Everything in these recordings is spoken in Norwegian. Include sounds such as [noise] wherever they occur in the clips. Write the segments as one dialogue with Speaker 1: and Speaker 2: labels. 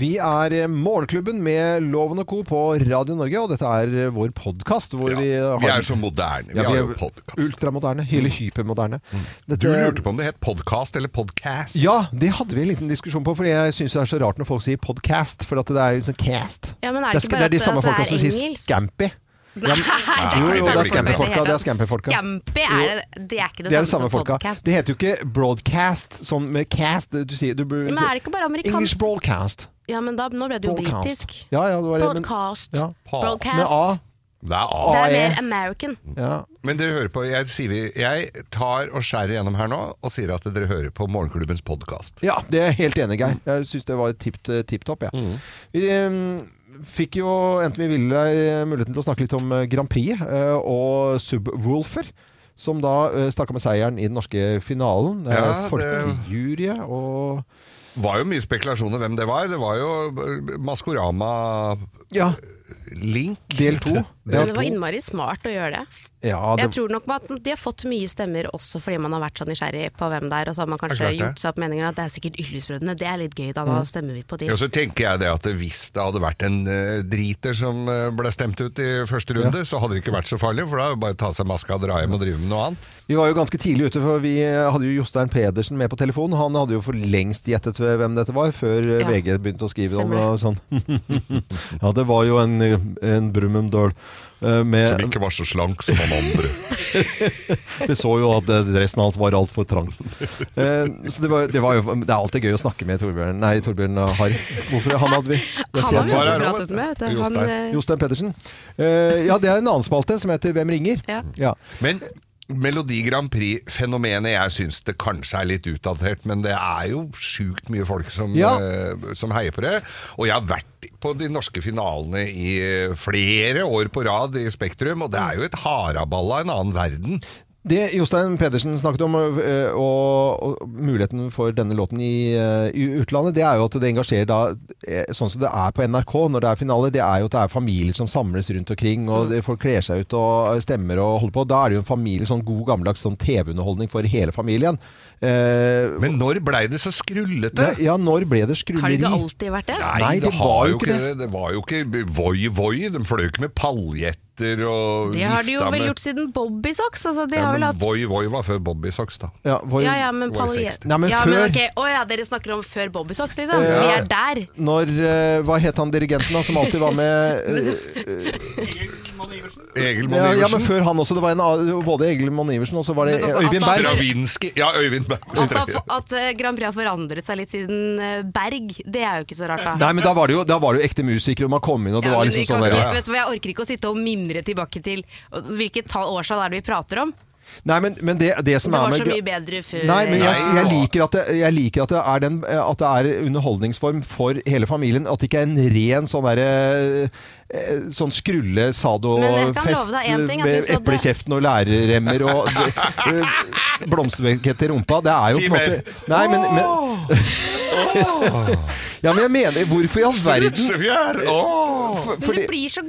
Speaker 1: Vi er eh, Morgenklubben med Loven og Co. på Radio Norge, og dette er eh, vår podkast. hvor Vi,
Speaker 2: Ja,
Speaker 1: har-
Speaker 2: vi er så moderne. Vi
Speaker 1: Ja,
Speaker 2: har
Speaker 1: vi
Speaker 2: jo
Speaker 1: er
Speaker 2: podkast.
Speaker 1: ultramoderne. Hele hypermoderne.
Speaker 2: Du lurte på om det het podkast eller podcast?
Speaker 1: Ja, det hadde vi en liten diskusjon på, fordi jeg syns det er så rart når folk sier podcast, for at det er liksom cast.
Speaker 3: Ja, men er det
Speaker 1: sk-
Speaker 3: ikke bare
Speaker 1: det er de
Speaker 3: at
Speaker 1: samme
Speaker 3: det
Speaker 1: folka
Speaker 3: er
Speaker 1: som sier
Speaker 3: engelsk?
Speaker 1: scampi.
Speaker 3: Nei, [laughs] det er
Speaker 2: Jo,
Speaker 3: ikke det
Speaker 2: jo,
Speaker 3: samme
Speaker 2: det er
Speaker 3: folka
Speaker 1: scampi-folka,
Speaker 3: i
Speaker 1: det er
Speaker 3: hele tatt.
Speaker 1: scampi-folka.
Speaker 3: Scampi er det, det er ikke det,
Speaker 1: Det er det
Speaker 3: samme,
Speaker 1: samme
Speaker 3: som
Speaker 1: folka.
Speaker 3: podcast.
Speaker 1: Det heter jo ikke broadcast som med cast. Du sier, du,
Speaker 3: Men er det ikke bare
Speaker 1: English
Speaker 3: amerikansk?
Speaker 1: broadcast.
Speaker 3: Ja, men da, nå ble det jo britisk.
Speaker 1: Broadcast. Ja, ja, det var det, men-
Speaker 3: Podcast.
Speaker 1: Ja. Med
Speaker 3: Broadcast.
Speaker 1: A.
Speaker 2: Det er A.
Speaker 3: Det er
Speaker 1: AE.
Speaker 3: mer American.
Speaker 1: Ja.
Speaker 2: Men dere hører på, jeg, sier vi, jeg tar og skjærer gjennom her nå og sier at dere hører på Morgenklubbens podkast.
Speaker 1: ja, det er jeg helt enig, Geir. Jeg syns det var tipp tipp topp, jeg. Vi eh, fikk jo, enten vi ville eller ei, muligheten til å snakke litt om eh, Grand Prix eh, og Subwoolfer. Som da uh, stakk av med seieren i den norske finalen. eh, Det er
Speaker 2: Ja, det-
Speaker 1: folkejury og
Speaker 2: Det var jo mye spekulasjoner hvem det var. Det var jo eh, Maskorama-link.
Speaker 1: Ja, del to. Ja,
Speaker 3: Men det var innmari smart å gjøre det.
Speaker 1: ja,
Speaker 3: Jeg
Speaker 1: det,
Speaker 3: tror nok at De har fått mye stemmer også fordi man har vært så nysgjerrig på hvem det er. Og så har man kanskje
Speaker 2: klart det.
Speaker 3: gjort seg opp meninger at det er sikkert Ylvis-brødrene. Det er litt gøy, da. Da
Speaker 1: Mm.
Speaker 3: stemmer vi på de.
Speaker 2: Ja, så tenker jeg det at Hvis det hadde vært en eh, driter som eh, ble stemt ut i første runde, så hadde det ikke vært så farlig, for da er det bare å ta seg maska og dra hjem og drive med noe annet.
Speaker 1: Vi var jo ganske tidlig ute, for vi hadde jo Jostein Pedersen med på telefon. Han hadde jo for lengst gjettet hvem dette var, før eh,
Speaker 3: Ja.
Speaker 1: VG begynte å skrive om
Speaker 3: Stemmer
Speaker 1: det. og Sånn. [laughs] ja, det var jo en, en Brumunddøl. eh,
Speaker 2: Som
Speaker 1: Med,
Speaker 2: ikke var så slank som han andre.
Speaker 1: vi så jo at eh, dressen hans var altfor trang. Eh, Så det, var, det, var jo, det er alltid gøy å snakke med Torbjørn Nei, Torbjørn Harr. Hvorfor han hadde vi? Jeg
Speaker 3: [laughs] Han
Speaker 1: sier
Speaker 3: har vi
Speaker 1: at-
Speaker 3: også
Speaker 2: Hva er det?
Speaker 3: pratet med. Vet du. Han,
Speaker 2: Jostein.
Speaker 3: eh,
Speaker 1: Jostein Pedersen. Eh, Ja, det er en annen spalte som heter Hvem ringer?
Speaker 3: Ja.
Speaker 1: Ja.
Speaker 2: Men Melodi Grand Prix-fenomenet, jeg syns det kanskje er litt utdatert, men det er jo sjukt mye folk som,
Speaker 1: Ja.
Speaker 2: eh, som heier på det. Og jeg har vært på de norske finalene i eh, flere år på rad i Spektrum, og det er jo et haraballa en annen verden.
Speaker 1: Det Jostein Pedersen snakket om, øh, og, og muligheten for denne låten i, øh, i utlandet, det er jo at det engasjerer da eh, Sånn som det er på NRK når det er finale, det er jo at det er familier som samles rundt omkring, og
Speaker 3: Mm.
Speaker 1: det, folk kler seg ut og øh, stemmer og holder på. Da er det jo en familie, sånn god gammeldags sånn TV-underholdning for hele familien. Eh,
Speaker 2: Men når blei det så skrullete?
Speaker 1: ja, når ble det
Speaker 3: har det
Speaker 1: skrulleri?
Speaker 3: ikke alltid vært det?
Speaker 1: Nei, det
Speaker 2: har
Speaker 1: var jo ikke
Speaker 2: det. Det var jo ikke voi-voi. De fløy jo ikke med paljetter og
Speaker 3: Det har de jo
Speaker 2: vifta
Speaker 3: vel
Speaker 2: med-
Speaker 3: gjort siden Bobbysocks. Altså, de
Speaker 2: Ja,
Speaker 3: har vel
Speaker 2: men
Speaker 3: hatt
Speaker 2: Voi-voi var før Bobbysocks, da.
Speaker 1: Ja, hvor,
Speaker 3: Ja, ja, men
Speaker 2: Det var jo
Speaker 3: palje...
Speaker 2: 60.
Speaker 1: Nei, men
Speaker 3: ja,
Speaker 1: før-
Speaker 3: ok. Å ja, dere snakker om før Bobbysocks, liksom?
Speaker 1: Ja.
Speaker 3: Vi er der.
Speaker 1: Når eh, Hva het han dirigenten da, som alltid
Speaker 3: [laughs]
Speaker 1: var med? eh,
Speaker 2: Egil Monn
Speaker 1: ja, ja, men
Speaker 2: Iversen.
Speaker 1: før han også. Det var en, annen- både Egil Monn Iversen og så var det
Speaker 3: Men altså, at
Speaker 1: Øyvind
Speaker 3: han-
Speaker 1: Berg.
Speaker 2: Stravinskij Ja, Øyvind Berg.
Speaker 3: At, da, at eh, Grand Prix har forandret seg litt siden eh, Berg, det er jo ikke så rart, da.
Speaker 1: Nei, men da var det jo, da var det jo ekte musikere, og man kom inn, og det
Speaker 3: Ja,
Speaker 1: var
Speaker 3: men vi
Speaker 1: liksom
Speaker 3: kan
Speaker 1: sånn der,
Speaker 3: ikke,
Speaker 1: ja.
Speaker 3: vet du hva, Jeg orker ikke å sitte og mimre tilbake til og hvilket tall årstall er det vi prater om.
Speaker 1: Nei, men, men det, det som
Speaker 3: Det
Speaker 1: er
Speaker 3: var
Speaker 1: med
Speaker 3: så mye bedre før.
Speaker 1: Nei, men jeg,
Speaker 2: Nei.
Speaker 1: jeg liker, at det, jeg liker at, det er den, at det er underholdningsform for hele familien. At det ikke er en ren sånn derre eh, Sånn skrulle
Speaker 3: Men jeg kan
Speaker 1: sadofest
Speaker 3: love deg en ting, at du
Speaker 1: med
Speaker 3: så det-
Speaker 1: eple i kjeften og lærerremmer
Speaker 3: [laughs]
Speaker 1: og eh, blomsterbukett i rumpa. Det er jo
Speaker 2: Si
Speaker 1: på en
Speaker 2: mer.
Speaker 1: måte Nei, men, men Ja, men jeg mener Hvorfor i all verden
Speaker 2: Rutsefjær! Åh!
Speaker 1: for-
Speaker 3: Men
Speaker 1: fordi-
Speaker 3: du blir så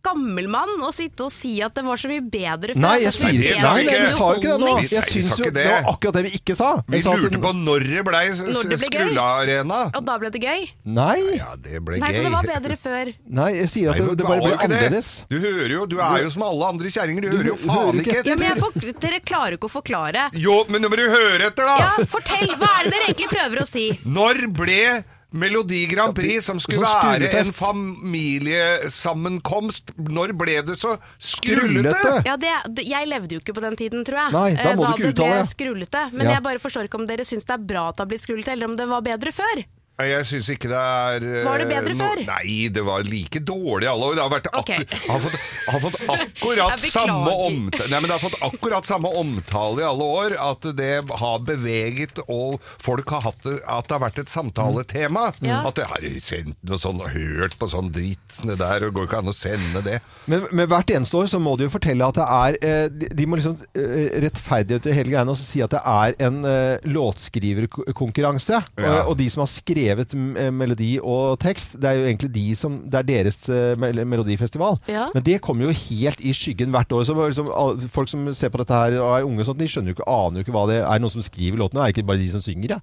Speaker 3: gammel mann å sitte og si at det var så mye bedre før. Det er
Speaker 1: Nei, jeg
Speaker 3: så mye
Speaker 1: sier ikke
Speaker 3: bedre
Speaker 1: Nei, nei, du
Speaker 2: ikke.
Speaker 1: sa jo ikke det nå.
Speaker 3: underholdning.
Speaker 1: Jeg
Speaker 2: Nei, vi
Speaker 1: syns
Speaker 2: sa
Speaker 1: jo
Speaker 2: ikke
Speaker 1: Det
Speaker 2: det.
Speaker 1: var akkurat det vi ikke sa.
Speaker 2: Vi
Speaker 1: Jeg sa at
Speaker 2: lurte
Speaker 1: den-
Speaker 2: på når det blei s-
Speaker 3: Når det ble gøy.
Speaker 2: skrullearena.
Speaker 3: Og da ble det gøy.
Speaker 1: Nei,
Speaker 2: Ja, det ble
Speaker 3: Nei,
Speaker 2: gøy.
Speaker 3: så det var bedre før.
Speaker 1: nei, jeg sier at
Speaker 2: Nei, men
Speaker 1: det, det bare
Speaker 2: var jo
Speaker 1: ble
Speaker 2: ikke det.
Speaker 1: annerledes.
Speaker 2: Du hører jo, du er jo som alle andre kjerringer, du hører jo
Speaker 1: hø-
Speaker 2: faen
Speaker 1: hører ikke
Speaker 2: ikke
Speaker 3: Ja,
Speaker 2: etter.
Speaker 3: men jeg får, dere klarer ikke å forklare.
Speaker 2: Jo, men nå må du høre etter,
Speaker 3: Ja,
Speaker 1: Ah.
Speaker 2: da!
Speaker 3: fortell! Hva er det dere egentlig prøver å si?
Speaker 2: Når ble Melodi Grand Prix, som skulle
Speaker 1: Sånn
Speaker 2: være en
Speaker 1: skrullefest.
Speaker 2: familiesammenkomst, når ble det så skrullete?
Speaker 1: Skrullete!
Speaker 3: Ja, det, det- jeg levde jo ikke på den tiden, tror jeg.
Speaker 1: Nei, da
Speaker 3: Eh,
Speaker 1: må du
Speaker 3: da
Speaker 1: ikke
Speaker 3: det ble
Speaker 1: uttale deg.
Speaker 3: skrullete. Men
Speaker 1: Ja.
Speaker 3: jeg bare forstår ikke om dere syns det er bra at det har blitt skrullete, eller om det var bedre før.
Speaker 2: Nei, Jeg syns ikke det er eh,
Speaker 3: Var det bedre
Speaker 2: no-
Speaker 3: før?
Speaker 2: Nei, det var like dårlig alle år. Det har, vært akkur
Speaker 3: Ok.
Speaker 2: [laughs] har, fått, har
Speaker 3: [laughs]
Speaker 2: fått akkurat
Speaker 3: Jeg beklager.
Speaker 2: samme omtale Nei, men det har fått akkurat samme omtale i alle år. At det har beveget og folk har hatt det At det har vært et samtaletema.
Speaker 3: Mm. Ja.
Speaker 2: At det har sendt noe sånn og hørt på sånn dritt ned der, og går ikke an å sende det.
Speaker 1: Men, men hvert eneste år så må du jo fortelle at det er eh, De de må liksom eh, rettferdiggjøre hele greiene og så si at det er en eh, låtskriverkonkurranse.
Speaker 2: Ja.
Speaker 1: Og, og de som har skrevet skrevet eh, melodi og tekst. Det er jo egentlig de som Det er deres eh, mel- melodifestival.
Speaker 3: Ja.
Speaker 1: Men det kommer jo helt i skyggen hvert år. Så var det liksom, all- folk som ser på dette her og er unge, og sånt, de skjønner jo ikke, aner jo ikke hva det er. Er det noen som skriver låtene? Er det ikke bare de som synger? Ja?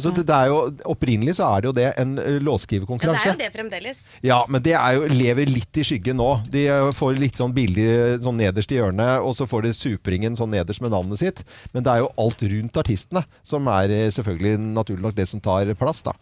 Speaker 1: Så det, det er jo, opprinnelig så er det jo det en eh,
Speaker 3: Ja, det er
Speaker 1: låtskriverkonkurranse.
Speaker 3: jo det fremdeles.
Speaker 1: Ja, men det er jo, lever litt i skyggen nå. De eh, får litt sånn billig sånn nederst i hjørnet, og så får de superingen sånn nederst med navnet sitt. Men det er jo alt rundt artistene som er eh, selvfølgelig naturlig nok det som tar plass, da.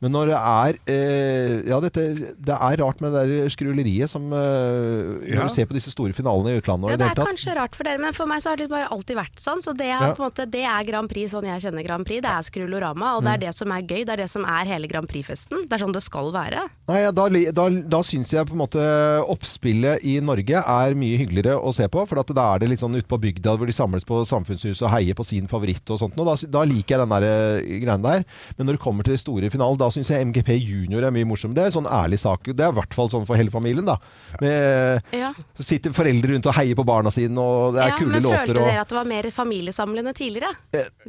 Speaker 1: Men når det er eh, Ja, dette, det er rart med det der skruleriet som eh, Når
Speaker 2: Ja.
Speaker 1: du ser på disse store finalene i utlandet
Speaker 3: Ja,
Speaker 1: og i
Speaker 3: det
Speaker 1: det
Speaker 3: er
Speaker 1: hele tatt.
Speaker 3: kanskje rart for dere, men for meg så har det bare alltid vært sånn. Så det er,
Speaker 1: Ja.
Speaker 3: på en måte, det er Grand Prix sånn jeg kjenner Grand Prix. Det er skrullorama, og det
Speaker 1: Mm.
Speaker 3: er det som er gøy. Det er det som er hele Grand Prix-festen. Det er sånn det skal være.
Speaker 1: Nei, ja, da, li- da, da syns jeg på en måte oppspillet i Norge er mye hyggeligere å se på. For at da er det litt sånn ute på bygda hvor de samles på samfunnshuset og heier på sin favoritt og sånt. Og da, sy- da liker jeg den der eh, greien der. Men når det kommer til de store finalen, da syns jeg MGP junior er mye morsommere. Det er en sånn ærlig sak. Det er i hvert fall sånn for hele familien, da. Med,
Speaker 3: Ja.
Speaker 1: så sitter foreldre rundt og heier på barna sine, og det er
Speaker 3: ja,
Speaker 1: kule
Speaker 3: men
Speaker 1: låter.
Speaker 3: følte
Speaker 1: og... Eh,
Speaker 3: dere at det var mer familiesamlende tidligere?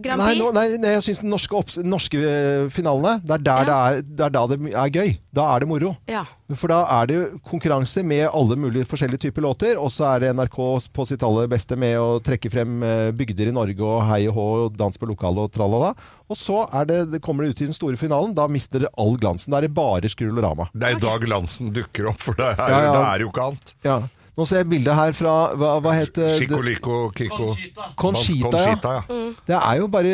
Speaker 3: Grand
Speaker 1: Nei,
Speaker 3: Prix?
Speaker 1: nå- nei, nei jeg syns den norske, opps- norske eh, finalene, det er, der
Speaker 3: Ja.
Speaker 1: det er, det er da det er gøy. Da er det moro.
Speaker 3: Ja.
Speaker 1: For da er det jo konkurranse med alle mulige forskjellige typer låter, og så er det NRK på sitt aller beste med å trekke frem eh, bygder i Norge og hei og hå og dans på lokalet og tralala. Og så er det, det kommer det ut i den store finalen, da mister det all glansen. Da er det bare skrulorama.
Speaker 2: Det er jo da glansen dukker opp, for det er,
Speaker 1: Ja, ja.
Speaker 2: det er jo ikke annet.
Speaker 1: Ja. Nå ser jeg bildet her fra Hva, hva het det?
Speaker 2: Chicoliko Kiko
Speaker 1: Conchita, ja.
Speaker 2: Conchita, ja.
Speaker 1: Det er jo
Speaker 2: Er jo
Speaker 1: bare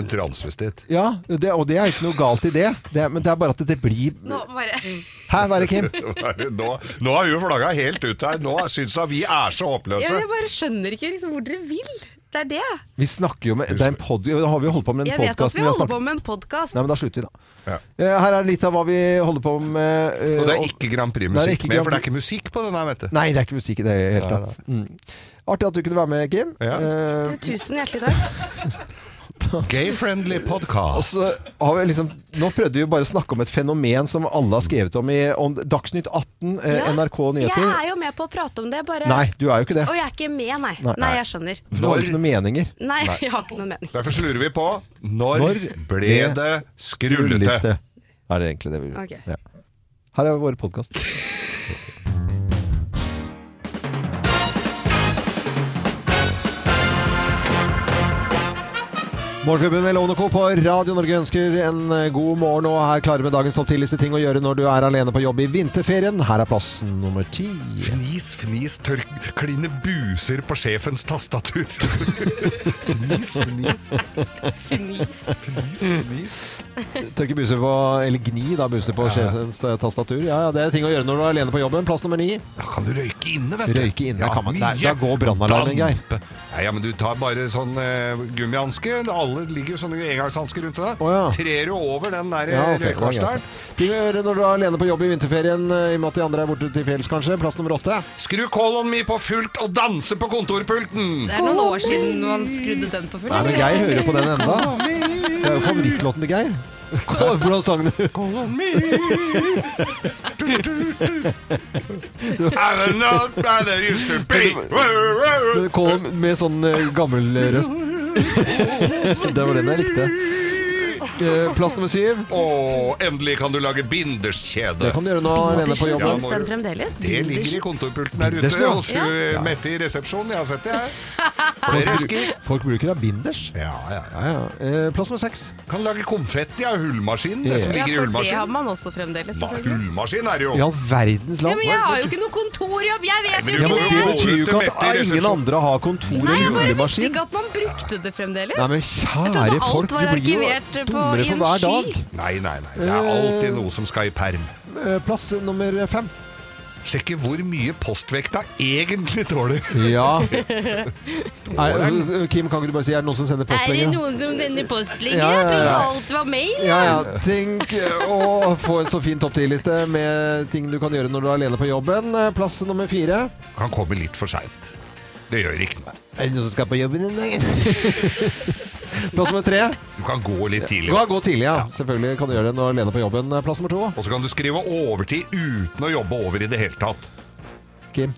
Speaker 2: en transvestitt.
Speaker 1: Ja, det, og det er jo ikke noe galt i det, det er, men det er bare at det blir
Speaker 3: Nå bare
Speaker 1: Hæ, hva er det, Kim?
Speaker 2: Hva er det Nå, nå har hun flagga helt ut her. Nå syns hun vi er så
Speaker 3: Ja,
Speaker 2: håpløse.
Speaker 3: Jeg bare skjønner ikke liksom, hvor dere vil. Det er det.
Speaker 1: Vi snakker jo med Det er en pod... Da har vi holdt på med
Speaker 3: Jeg
Speaker 1: den
Speaker 3: vet at
Speaker 1: podkasten
Speaker 3: vi
Speaker 1: vi har
Speaker 3: holder
Speaker 1: snakket
Speaker 3: på med en podkast.
Speaker 1: Nei, men da slutter vi, da.
Speaker 2: Ja.
Speaker 1: Eh, Her er litt av hva vi holder på med. eh,
Speaker 2: Og det er
Speaker 1: og-
Speaker 2: ikke Grand
Speaker 1: Det er
Speaker 2: Prix-musikk
Speaker 1: ikke
Speaker 2: med,
Speaker 1: Grand
Speaker 2: for det er
Speaker 1: Prix.
Speaker 2: ikke musikk på den her, vet du.
Speaker 1: Nei, det er ikke musikk i det hele tatt. Mm. Artig at du kunne være med, Kim.
Speaker 2: Ja.
Speaker 1: Eh,
Speaker 3: Tusen hjertelig takk.
Speaker 2: Gay-friendly
Speaker 1: og
Speaker 2: podcast.
Speaker 1: så har vi liksom, nå prøvde vi jo bare å snakke om et fenomen som alle har skrevet om i om Dagsnytt 18, eh,
Speaker 3: Ja.
Speaker 1: NRK
Speaker 3: Jeg
Speaker 1: Nyheter.
Speaker 3: er jo med på å prate om det, bare.
Speaker 1: Nei, du er jo ikke det.
Speaker 3: Og jeg er ikke med, nei.
Speaker 1: Nei.
Speaker 3: Nei, jeg skjønner.
Speaker 1: For du har jo ikke noen meninger.
Speaker 3: Nei, jeg har ikke noen mening.
Speaker 2: Derfor slurer vi på Når,
Speaker 1: Når
Speaker 2: ble
Speaker 1: ble
Speaker 2: det skrullete?
Speaker 1: Er det egentlig det vi
Speaker 3: Ok.
Speaker 1: ja. Her er vår podkast. Morgenklubben med Lovende Co. på Radio Norge ønsker en eh, god morgen og er klare med dagens topp 10-liste ting å gjøre når du er alene på jobb i vinterferien. Her er plass nummer ti.
Speaker 2: Fnis, fnis, tørk, kline buser på sjefens tastatur. [laughs] fnis, fnis,
Speaker 3: Fnis.
Speaker 2: fnis, fnis.
Speaker 1: Tørke buser på, eller gni da, buser på sjefens eh, tastatur. Ja, ja, det er ting å gjøre når du er alene på jobben. Plass nummer ni.
Speaker 2: Da kan du røyke inne, vet du.
Speaker 1: Røyke inne, kan man- Nei,
Speaker 2: mye.
Speaker 1: da går brannalarmen, Geir.
Speaker 2: Dampe. Nei, ja, men du tar bare sånn eh, gummihanske. Alle ligger jo sånne engangshansker rundt deg.
Speaker 1: Å, ja.
Speaker 2: Trer du over den der
Speaker 1: Ja,
Speaker 2: ja,
Speaker 1: ok, det er greit. Ting å gjøre når du er alene på jobb i vinterferien, eh, i og med at de andre er borte til fjells, kanskje. Plass nummer åtte.
Speaker 2: Skru kolon mi på fullt og danse på kontorpulten!
Speaker 3: Det er noen år siden man skrudde den på full.
Speaker 1: Nei, men
Speaker 3: eller?
Speaker 1: Geir hører jo på den enda. Det er jo favorittlåten til Geir. Hvordan sang du?
Speaker 2: Kolon mi I don't know why they used to be.
Speaker 1: Kom med sånn eh, gammel eh, [laughs] røst. Det var den jeg likte. Eh, Plass nummer syv.
Speaker 2: Og endelig kan du lage
Speaker 1: Det
Speaker 2: binderskjede.
Speaker 1: kan du gjøre nå alene på
Speaker 2: Ja,
Speaker 1: jobb.
Speaker 3: Fins
Speaker 2: må
Speaker 3: den
Speaker 2: jo-
Speaker 3: fremdeles?
Speaker 2: Det ligger i kontorpulten der
Speaker 1: Bindersen,
Speaker 2: ute
Speaker 1: ja.
Speaker 2: hos
Speaker 3: Ja.
Speaker 2: ja. Mette i resepsjonen. Jeg har sett det, jeg.
Speaker 1: Folk
Speaker 2: Flere
Speaker 1: bruker,
Speaker 2: ski.
Speaker 1: folk bruker da binders.
Speaker 2: Ja, ja, ja.
Speaker 1: Ja, ja. Eh, Plass nummer seks.
Speaker 2: Kan lage konfetti av hullmaskin. Det som
Speaker 3: Ja, for
Speaker 2: ligger i
Speaker 3: det har
Speaker 2: hullmaskin.
Speaker 3: man også fremdeles,
Speaker 2: Hva,
Speaker 3: selvfølgelig.
Speaker 2: hullmaskin er det jo.
Speaker 1: I all
Speaker 3: Ja,
Speaker 1: verdens land.
Speaker 3: men jeg har jo ikke noe kontorjobb! Jeg vet
Speaker 2: du
Speaker 3: jo
Speaker 1: Ja, men
Speaker 3: ikke
Speaker 2: må
Speaker 1: Det
Speaker 3: det!
Speaker 2: jo-
Speaker 1: betyr jo ikke at eh, ingen andre har kontor
Speaker 3: Nei,
Speaker 1: og
Speaker 3: jeg bare visste
Speaker 1: julemaskin.
Speaker 3: ikke at man brukte det fremdeles.
Speaker 1: Nei, men
Speaker 3: Jeg trodde
Speaker 1: kjære
Speaker 3: alt var
Speaker 1: folk, du blir jo
Speaker 3: arkivert på-
Speaker 1: dummere
Speaker 3: i
Speaker 1: for
Speaker 3: en
Speaker 1: hver
Speaker 3: sky.
Speaker 1: dag.
Speaker 2: Nei, nei, nei. Det er alltid noe som skal i perm.
Speaker 1: Eh, Plass nummer fem.
Speaker 2: Sjekke hvor mye postvekta egentlig tåler.
Speaker 1: [laughs] Ja. Er, Kim, kan ikke du bare si er det noen som sender
Speaker 3: Er det
Speaker 1: postlenge?
Speaker 3: noen som sender postlegger?
Speaker 1: Ja, ja,
Speaker 3: Jeg trodde
Speaker 1: ja.
Speaker 3: alt var mail.
Speaker 1: Ja, ja. Tenk å få en så fin topp 10-liste med ting du kan gjøre når du er alene på jobben. Eh, Plass nummer fire.
Speaker 2: Kan komme litt for seint. Det gjør ikke noe.
Speaker 1: Er det noen som skal på jobben i dag? [laughs] Plass nummer tre.
Speaker 2: Du kan gå litt
Speaker 1: Gå,
Speaker 2: tidligere.
Speaker 1: gå tidlig, ja. Selvfølgelig kan du gjøre det når du er alene på jobben. Eh, Plass nummer to.
Speaker 2: Og så kan du skrive overtid uten å jobbe over i det hele tatt.
Speaker 1: Kim.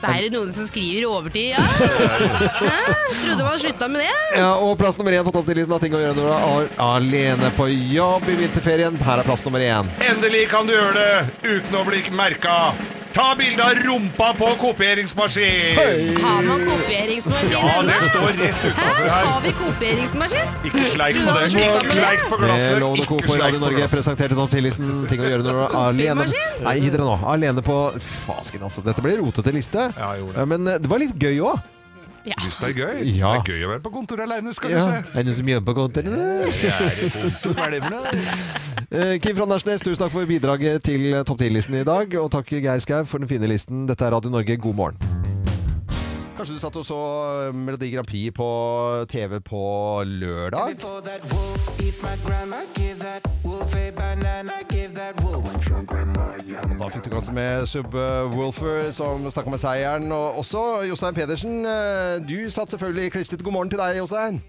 Speaker 3: Det er jo noen som skriver overtid. Ja. Hæ? Trodde man slutta med det.
Speaker 1: Ja, og plass nummer én på topp 10-listen av ting å gjøre når du er alene på jobb i vinterferien. Her er plass nummer én.
Speaker 2: Endelig kan du gjøre det uten å bli merka. Ta bilde av rumpa på kopieringsmaskin!
Speaker 3: Har man kopieringsmaskin
Speaker 2: Ja, det
Speaker 3: ennå?
Speaker 2: står rett utenfor
Speaker 3: Hæ?
Speaker 2: her.
Speaker 3: Har vi kopieringsmaskin?
Speaker 2: Ikke
Speaker 3: Du
Speaker 2: sleik på
Speaker 3: har
Speaker 2: det.
Speaker 3: trykket på
Speaker 2: Ikke sleik på
Speaker 1: Med
Speaker 2: glasset.
Speaker 1: Loven og Co.
Speaker 2: Ikke
Speaker 1: på
Speaker 2: sleik
Speaker 1: Radio
Speaker 2: på
Speaker 1: Norge
Speaker 2: glasset.
Speaker 1: presenterte topp 10-listen ting å gjøre når du er alene
Speaker 3: Kopimaskin?
Speaker 1: Nei, gi dere nå. Alene på Fasken, altså. Dette ble rotete liste.
Speaker 2: Ja, jeg gjorde det.
Speaker 1: Men eh, det var litt gøy òg.
Speaker 2: Hvis det er gøy.
Speaker 1: Ja.
Speaker 2: Det er gøy å være på kontoret aleine, skal
Speaker 1: Ja.
Speaker 2: du
Speaker 1: Er
Speaker 2: se.
Speaker 1: det noen som jobber på kontoret?
Speaker 2: Det er et kontor, hva er det for noe?
Speaker 1: Eh, Kim fra Nesjnes, tusen takk for bidraget til eh, topp 10-listen i dag. Og takk Geir Skau for den fine listen. Dette er Radio Norge, god morgen. Kanskje du satt og så eh, Melodi Grand Prix på TV på lørdag?
Speaker 4: Before that wolf eats my grandma, give that wolf a banana, give that wolf.
Speaker 1: Da fikk du kanskje med Subwoolfer som snakka med seieren. Og også Jostein Pedersen. eh, Du satt selvfølgelig klistret. God morgen til deg, Jostein.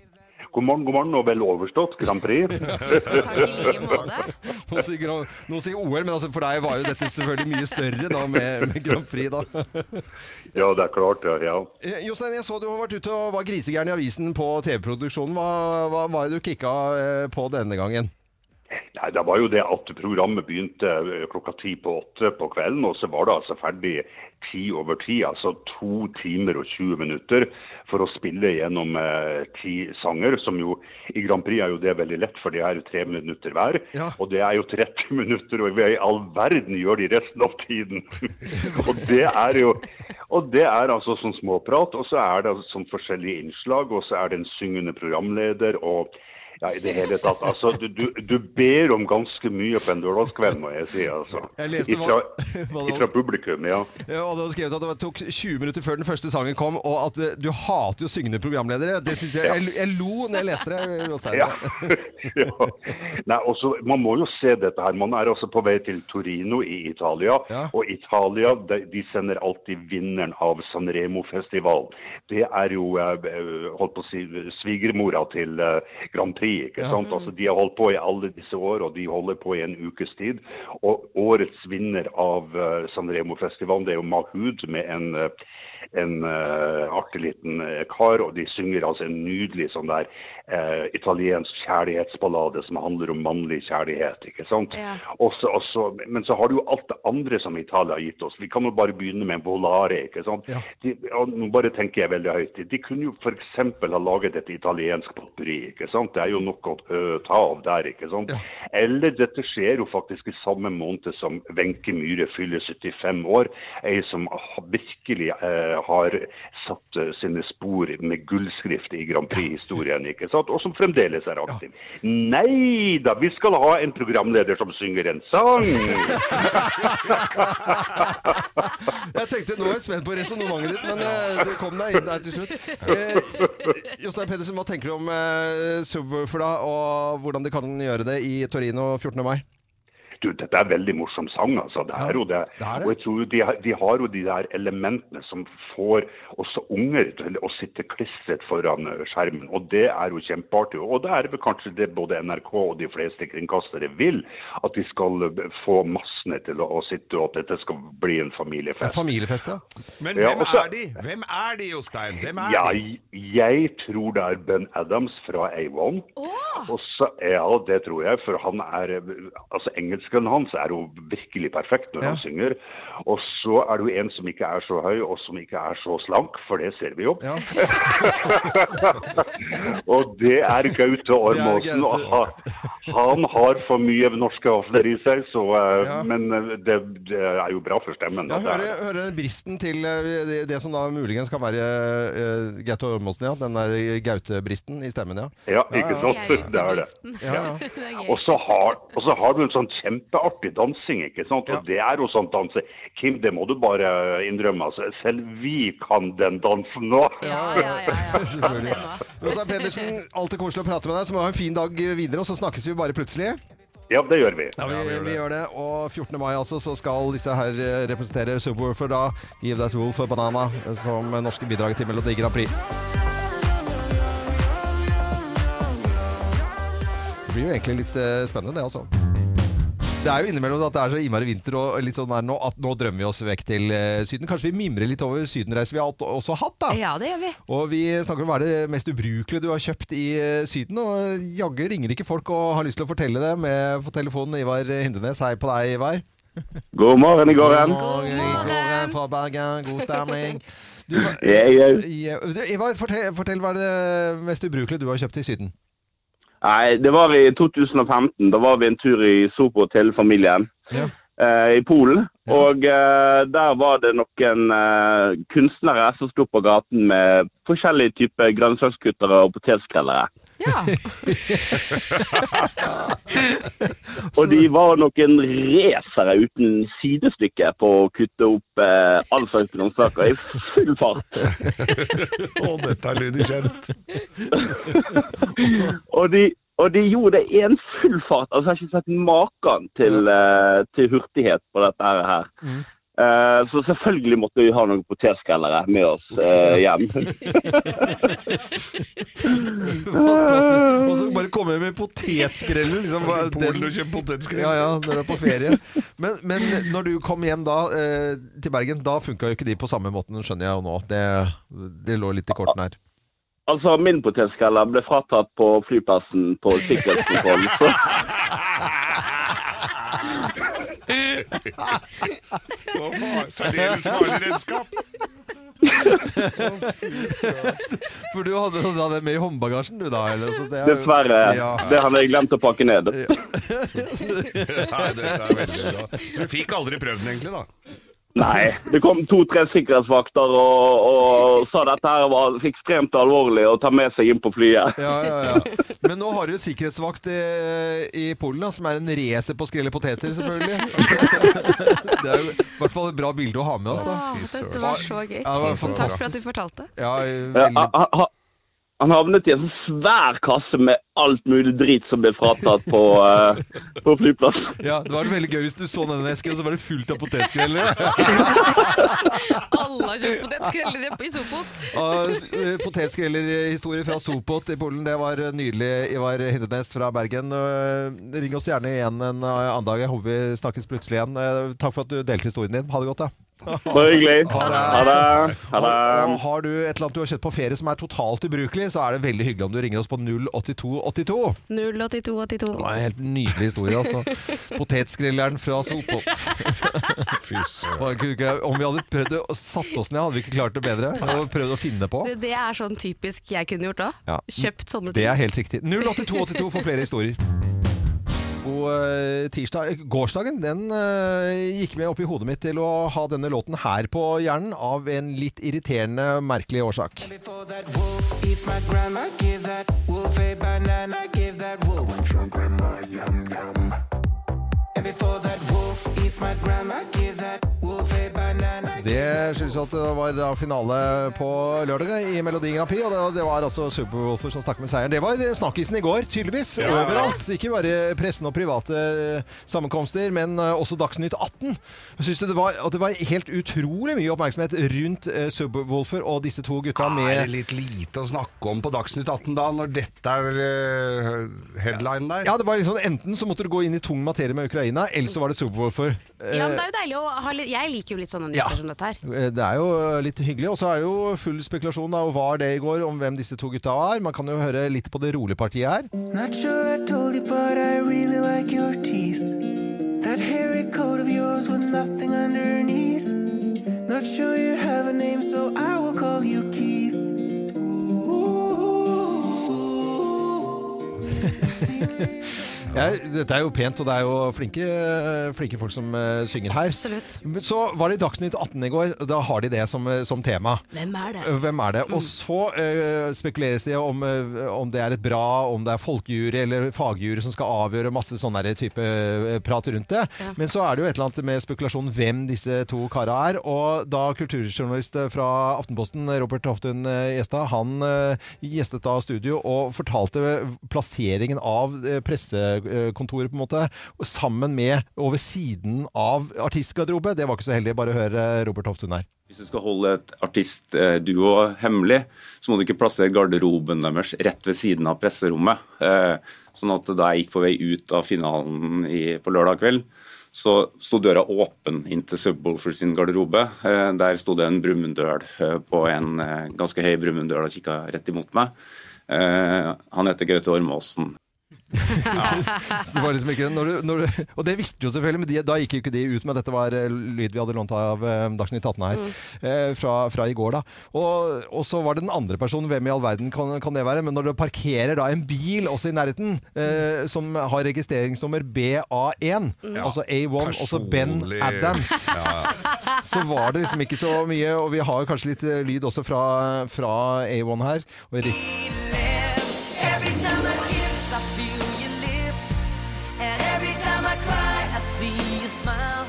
Speaker 5: God morgen, god morgen, og vel overstått Grand Prix.
Speaker 3: Tusen takk i like måte.
Speaker 1: Noen sier, Grand- noen sier OL, men altså for deg var jo dette selvfølgelig mye større da med, med Grand Prix, da.
Speaker 5: Ja, det er klart, ja. ja.
Speaker 1: Eh, Jostein, jeg så du har vært ute og var grisegæren i avisen på TV-produksjonen. Hva, hva var det du kicka eh, på denne gangen?
Speaker 5: Nei, Det var jo det at programmet begynte eh, klokka ti på åtte på kvelden, og så var det altså ferdig ti over ti, altså to timer og 20 minutter for å spille gjennom eh, ti sanger, som jo i Grand Prix er jo det veldig lett, for de er jo tre minutter hver.
Speaker 1: Ja.
Speaker 5: Og det er jo 30 [laughs] minutter, og hva i all verden gjør de resten av tiden? [laughs] og det er jo og det er altså sånn småprat, og så er det altså sånn forskjellige innslag, og så er det en syngende programleder. og ja, i det hele tatt. Altså, du, du, du ber om ganske mye på en lørdagskveld, må jeg si. altså.
Speaker 1: Jeg leste hva-
Speaker 5: ifra,
Speaker 1: hva det var.
Speaker 5: ifra publikum, ja.
Speaker 1: Ja, Eh, og Du hadde skrevet at det tok 20 minutter før den første sangen kom, og at eh, du hater jo syngende programledere. Det synes jeg, jeg, jeg lo når jeg leste det. Jostein.
Speaker 5: Ja. [laughs] ja. Nei, også, man må jo se dette her. Man er altså på vei til Torino i Italia.
Speaker 1: Ja.
Speaker 5: Og Italia de, de sender alltid vinneren av Sanremo-festivalen. Det er jo eh, holdt på å si, svigermora til eh, Grand Prix. ikke sant? Altså, de har holdt på i alle disse år, og de holder på i en ukes tid. Og årets vinner av eh, Sanremo-festivalen, det er jo Mahud med en eh, en eh, artig liten eh, kar, og de synger altså en nydelig sånn der eh, italiensk kjærlighetsballade som handler om mannlig kjærlighet, ikke sant.
Speaker 3: Ja.
Speaker 5: Og så- og så- men så har du jo alt det andre som Italia har gitt oss. Vi kan jo bare begynne med Volare, ikke sant. De, og nå bare tenker jeg veldig høyt. De kunne jo f.eks. ha laget et italiensk potpurri, ikke sant. Det er jo nok å ø, ta av der, ikke sant. Eller dette skjer jo faktisk i samme måned som Wenche Myhre fyller 75 år, ei som ha- virkelig eh, har satt eh, sine spor med gullskrift i Grand Prix-historien, ikke sant? og som fremdeles er aktiv. Nei da, vi skal ha en programleder som synger en sang!
Speaker 1: Jeg tenkte, Nå er jeg spent på resonnementet ditt, men eh, du kom deg inn der til slutt. Eh, Jostein Pedersen, hva tenker du om eh, Subwoolfer da, og hvordan de kan gjøre det i Torino 14. mai?
Speaker 5: Du, dette er veldig morsom sang, altså. Det er jo det.
Speaker 1: det er det.
Speaker 5: Og jeg tror jo de, har- de har jo de der elementene som får også unger til å sitte klistret foran eh, skjermen. Og det er jo kjempeartig. Og det er vel kanskje det både NRK og de fleste kringkastere vil. At de skal eh, få massene til å, å sitte, og at dette skal bli en familiefest.
Speaker 1: Familiefest, ja.
Speaker 2: Men
Speaker 5: Ja,
Speaker 2: hvem
Speaker 5: og så-
Speaker 2: er de? Hvem er de, Jostein? Hvem er
Speaker 5: Ja,
Speaker 2: de?
Speaker 5: jeg tror det er Ben Adams fra A1. Og så, ja, det tror jeg, for han er Altså, engelsken hans er jo virkelig perfekt når han synger. Og så er det jo en som ikke er så høy, og som ikke er så slank, for det ser vi jo.
Speaker 1: Ja.
Speaker 5: Og det er
Speaker 1: [laughs]
Speaker 5: Gaute Ormåsen.
Speaker 1: Gaute.
Speaker 5: og ha- Han har for mye norske hofter i seg, så eh,
Speaker 1: Ja.
Speaker 5: Men eh, det, det er jo bra for stemmen.
Speaker 1: Da
Speaker 5: at det er-
Speaker 1: hører, hører den bristen til eh, det, det som da muligens kan være eh, Gaute Ormåsen, ja. Den der Gaute-bristen i stemmen, ja.
Speaker 5: Ja, ikke sant? [laughs] Det er det.
Speaker 3: [laughs]
Speaker 5: Og så har, og så har du en sånn kjempeartig dansing, ikke sant? Og det er jo sånn danse. Kim, det må du bare innrømme. Altså. Selv vi kan den dansen nå.
Speaker 3: Ja, ja, ja. ja. Kan det nå.
Speaker 1: Jostein Pedersen, alltid koselig å prate med deg, så må du ha en fin dag videre, og så snakkes vi bare plutselig.
Speaker 5: Ja, det gjør vi.
Speaker 1: Ja, vi, vi, gjør det. Og 14. mai altså, så skal disse her eh, representere Subwoofer da. Give That Rule for Banana eh, som eh, norske bidrag til Melodi Grand Prix. Det blir jo egentlig litt eh, spennende, det altså. Det er jo innimellom at det er så innmari vinter og litt sånn der nå, at nå drømmer vi oss vekk til eh, Syden. Kanskje vi mimrer litt over sydenreiser vi har alt- også hatt, da.
Speaker 3: Ja, det gjør vi.
Speaker 1: Og vi snakker om hva er det mest ubrukelige du har kjøpt i eh, Syden. Og jaggu ringer ikke folk og har lyst til å fortelle det med på telefonen. Ivar Hindenes, hei på deg, Ivar.
Speaker 6: God morgen, i går hen.
Speaker 1: Og i
Speaker 3: morgen.
Speaker 1: går fra Bergen, god stemning. Du,
Speaker 6: Yeah, yeah.
Speaker 1: ja, du, Ivar, fortell, fortell hva er det mest ubrukelige du har kjøpt i Syden?
Speaker 6: Nei, det var i 2015. Da var vi en tur i Sopot til familien
Speaker 1: Ja.
Speaker 6: eh, i Polen. Og eh, der var det noen eh, kunstnere som sto på gaten med forskjellige typer grønnsakskuttere og potetskreller.
Speaker 3: Ja.
Speaker 6: Og de var noen racere uten sidestykke på å kutte opp eh, all slags grønnsaker i full fart.
Speaker 2: Å, dette lyder kjent.
Speaker 6: Og de, og de gjorde det i en full fart. Altså, jeg har ikke sett maken til, eh, til hurtighet på dette her. Eh, så selvfølgelig måtte vi ha noen potetskrellere med oss eh, hjem.
Speaker 1: [laughs] Fantastisk. Og så bare komme med potetskrellen. Liksom, hva-
Speaker 2: Polen
Speaker 1: den-
Speaker 2: og kjøpt potetskrem.
Speaker 1: ja, ja, når du er på ferie. Men, men når du kom hjem da eh, til Bergen, da funka jo ikke de på samme måten, skjønner jeg jo nå. Det, det lå litt i kortene her.
Speaker 6: Altså, min potetsskreller ble fratatt på flyplassen på [laughs] sikkerhetskontrollen. Så,
Speaker 2: Å, faen, Særdeles farlig [laughs] redskap.
Speaker 1: For du hadde da det med i håndbagasjen, du da? Eller? Så det er jo-
Speaker 6: dessverre.
Speaker 1: Ja.
Speaker 6: Det hadde jeg glemt å pakke ned.
Speaker 2: Nei, dette er veldig bra. Du fikk aldri prøvd den egentlig, da.
Speaker 6: Nei. Det kom to-tre sikkerhetsvakter og, og sa dette her var ekstremt alvorlig å ta med seg inn på flyet.
Speaker 1: Ja, ja, ja. Men nå har du et sikkerhetsvakt i, i Polen, da, som er en racer på å skrelle poteter, selvfølgelig. [laughs] Det er jo i hvert fall et bra bilde å ha med oss, da.
Speaker 3: Åh,
Speaker 2: fy søren.
Speaker 3: dette var så gøy.
Speaker 1: Ja, det var
Speaker 3: Tusen takk for at du fortalte.
Speaker 1: Ja,
Speaker 6: Ja,
Speaker 1: veldig-
Speaker 6: han, han- han havnet i en sånn svær kasse med alt mulig drit som ble fratatt på, eh, på flyplassen.
Speaker 1: Ja, det var veldig gøy hvis du så denne esken, og så var det fullt av potetskrellere.
Speaker 3: Alle har kjøpt potetskreller i Sopot.
Speaker 1: Og eh, potetskrellerhistorie fra Sopot i Polen, det var eh, nydelig. Ivar Hindenes fra Bergen. Eh, Ring oss gjerne igjen en eh, annen dag. Jeg håper vi snakkes plutselig igjen. Eh, Takk for at du delte historien din. Ha det godt, da.
Speaker 6: Bare hyggelig. Ha det. Ha
Speaker 1: Og
Speaker 6: det.
Speaker 1: har du et eller annet du har kjøpt på ferie som er totalt ubrukelig, så er det veldig hyggelig om du ringer oss på 08282.
Speaker 3: 08282.
Speaker 1: Det var en helt nydelig historie, altså. Potetskrelleren fra Sopot.
Speaker 2: Fy søren.
Speaker 1: Bare kunne ikke- Om vi hadde prøvd å satt oss ned, hadde vi ikke klart det bedre. Og prøvd å finne på.
Speaker 3: Det, det er sånn typisk jeg kunne gjort òg.
Speaker 1: Ja.
Speaker 3: Kjøpt sånne
Speaker 1: Det
Speaker 3: ting.
Speaker 1: er helt riktig. 08282 for flere historier. God eh, tirsdag. Gårsdagen den eh, gikk med opp i hodet mitt til å ha denne låten her på hjernen av en litt irriterende, merkelig årsak.
Speaker 7: Before that wolf eats my grandma, give that wolf a banana, give that wolf. And before that wolf eats my grandma, give that wolf a banana.
Speaker 1: Det skyldes at det var da finale på lørdag i Melodi Grand Prix, og det, det var altså Superwolfer som stakk med seieren. Det var snakkisen i går, tydeligvis. Overalt. Ikke bare pressen og private eh, sammenkomster, men eh, også Dagsnytt 18. Jeg syns det, var- at det var helt utrolig mye oppmerksomhet rundt eh, Subwoolfer og disse to gutta
Speaker 2: Er det
Speaker 1: med
Speaker 2: litt lite å snakke om på Dagsnytt 18 da, når dette er eh, headline der?
Speaker 1: ja, det var liksom Enten så måtte du gå inn i tung materie med Ukraina, eller så var det Subwoolfer.
Speaker 3: Ja, men det er jo deilig å ha litt Jeg liker jo litt sånne nyheter
Speaker 1: Eh, Ja.
Speaker 3: som dette her.
Speaker 1: Eh, Det er jo litt hyggelig. Og så er det jo full spekulasjon da, og var det i går, om hvem disse to gutta var. Man kan jo høre litt på det rolige partiet her.
Speaker 7: Not sure I told you, but I really like your teeth. That hairy coat of yours with nothing underneath. Not sure you have a name, so I will call you Keith. Ooh.
Speaker 1: Jeg, dette er jo pent, og det er jo flinke, flinke folk som eh, synger her.
Speaker 3: Absolutt.
Speaker 1: Men så var det Dagsnytt 18 i går. og Da har de det som, eh, som tema.
Speaker 3: Hvem er det?
Speaker 1: Eh, Hvem er det? Og så eh, spekuleres det om, eh, om det er et bra, om det er folkejury eller fagjury som skal avgjøre masse sånn der type eh, prat rundt det. Men så er det jo et eller annet med spekulasjon hvem disse to kara er. Og da kulturjournalist eh, fra Aftenposten, Robert Hoftun eh, Gjestad, han eh, gjestet da studio og fortalte plasseringen av eh, pressekontoret på en måte, og sammen med over siden av artistgarderobe. Det var ikke så heldig, bare hør eh, Robert Hoftun her.
Speaker 8: Hvis du skal holde et artistduo hemmelig, så må du ikke plassere garderoben deres rett ved siden av presserommet. Eh, Sånn at da jeg gikk på vei ut av finalen i, på lørdag kveld, så sto døra åpen inn til Subwoolfer sin garderobe. Eh, Der sto det en brumunddøl eh, på en eh, ganske høy brumunddøl og kikka rett imot meg. Eh, Han heter Gaute Ormåsen.
Speaker 1: Så det var liksom ikke, når du, når du, og det visste du jo selvfølgelig, men de, da gikk jo ikke de ut med dette var eh, lyd vi hadde lånt av eh, Dagsnytt 18 her eh, fra, fra i går. da. Og, og så var det den andre personen, hvem i all verden kan, kan det være? Men når du parkerer da en bil også i nærheten, eh, som har registreringsnummer BA1, altså A1, og så Ben
Speaker 2: Personlig-
Speaker 1: Adams
Speaker 2: Ja,
Speaker 1: så var det liksom ikke så mye. Og vi har kanskje litt eh, lyd også fra, fra A1 her. Og Rick
Speaker 9: Every time I kiss, I feel your lips. And every time I cry, I see you smile.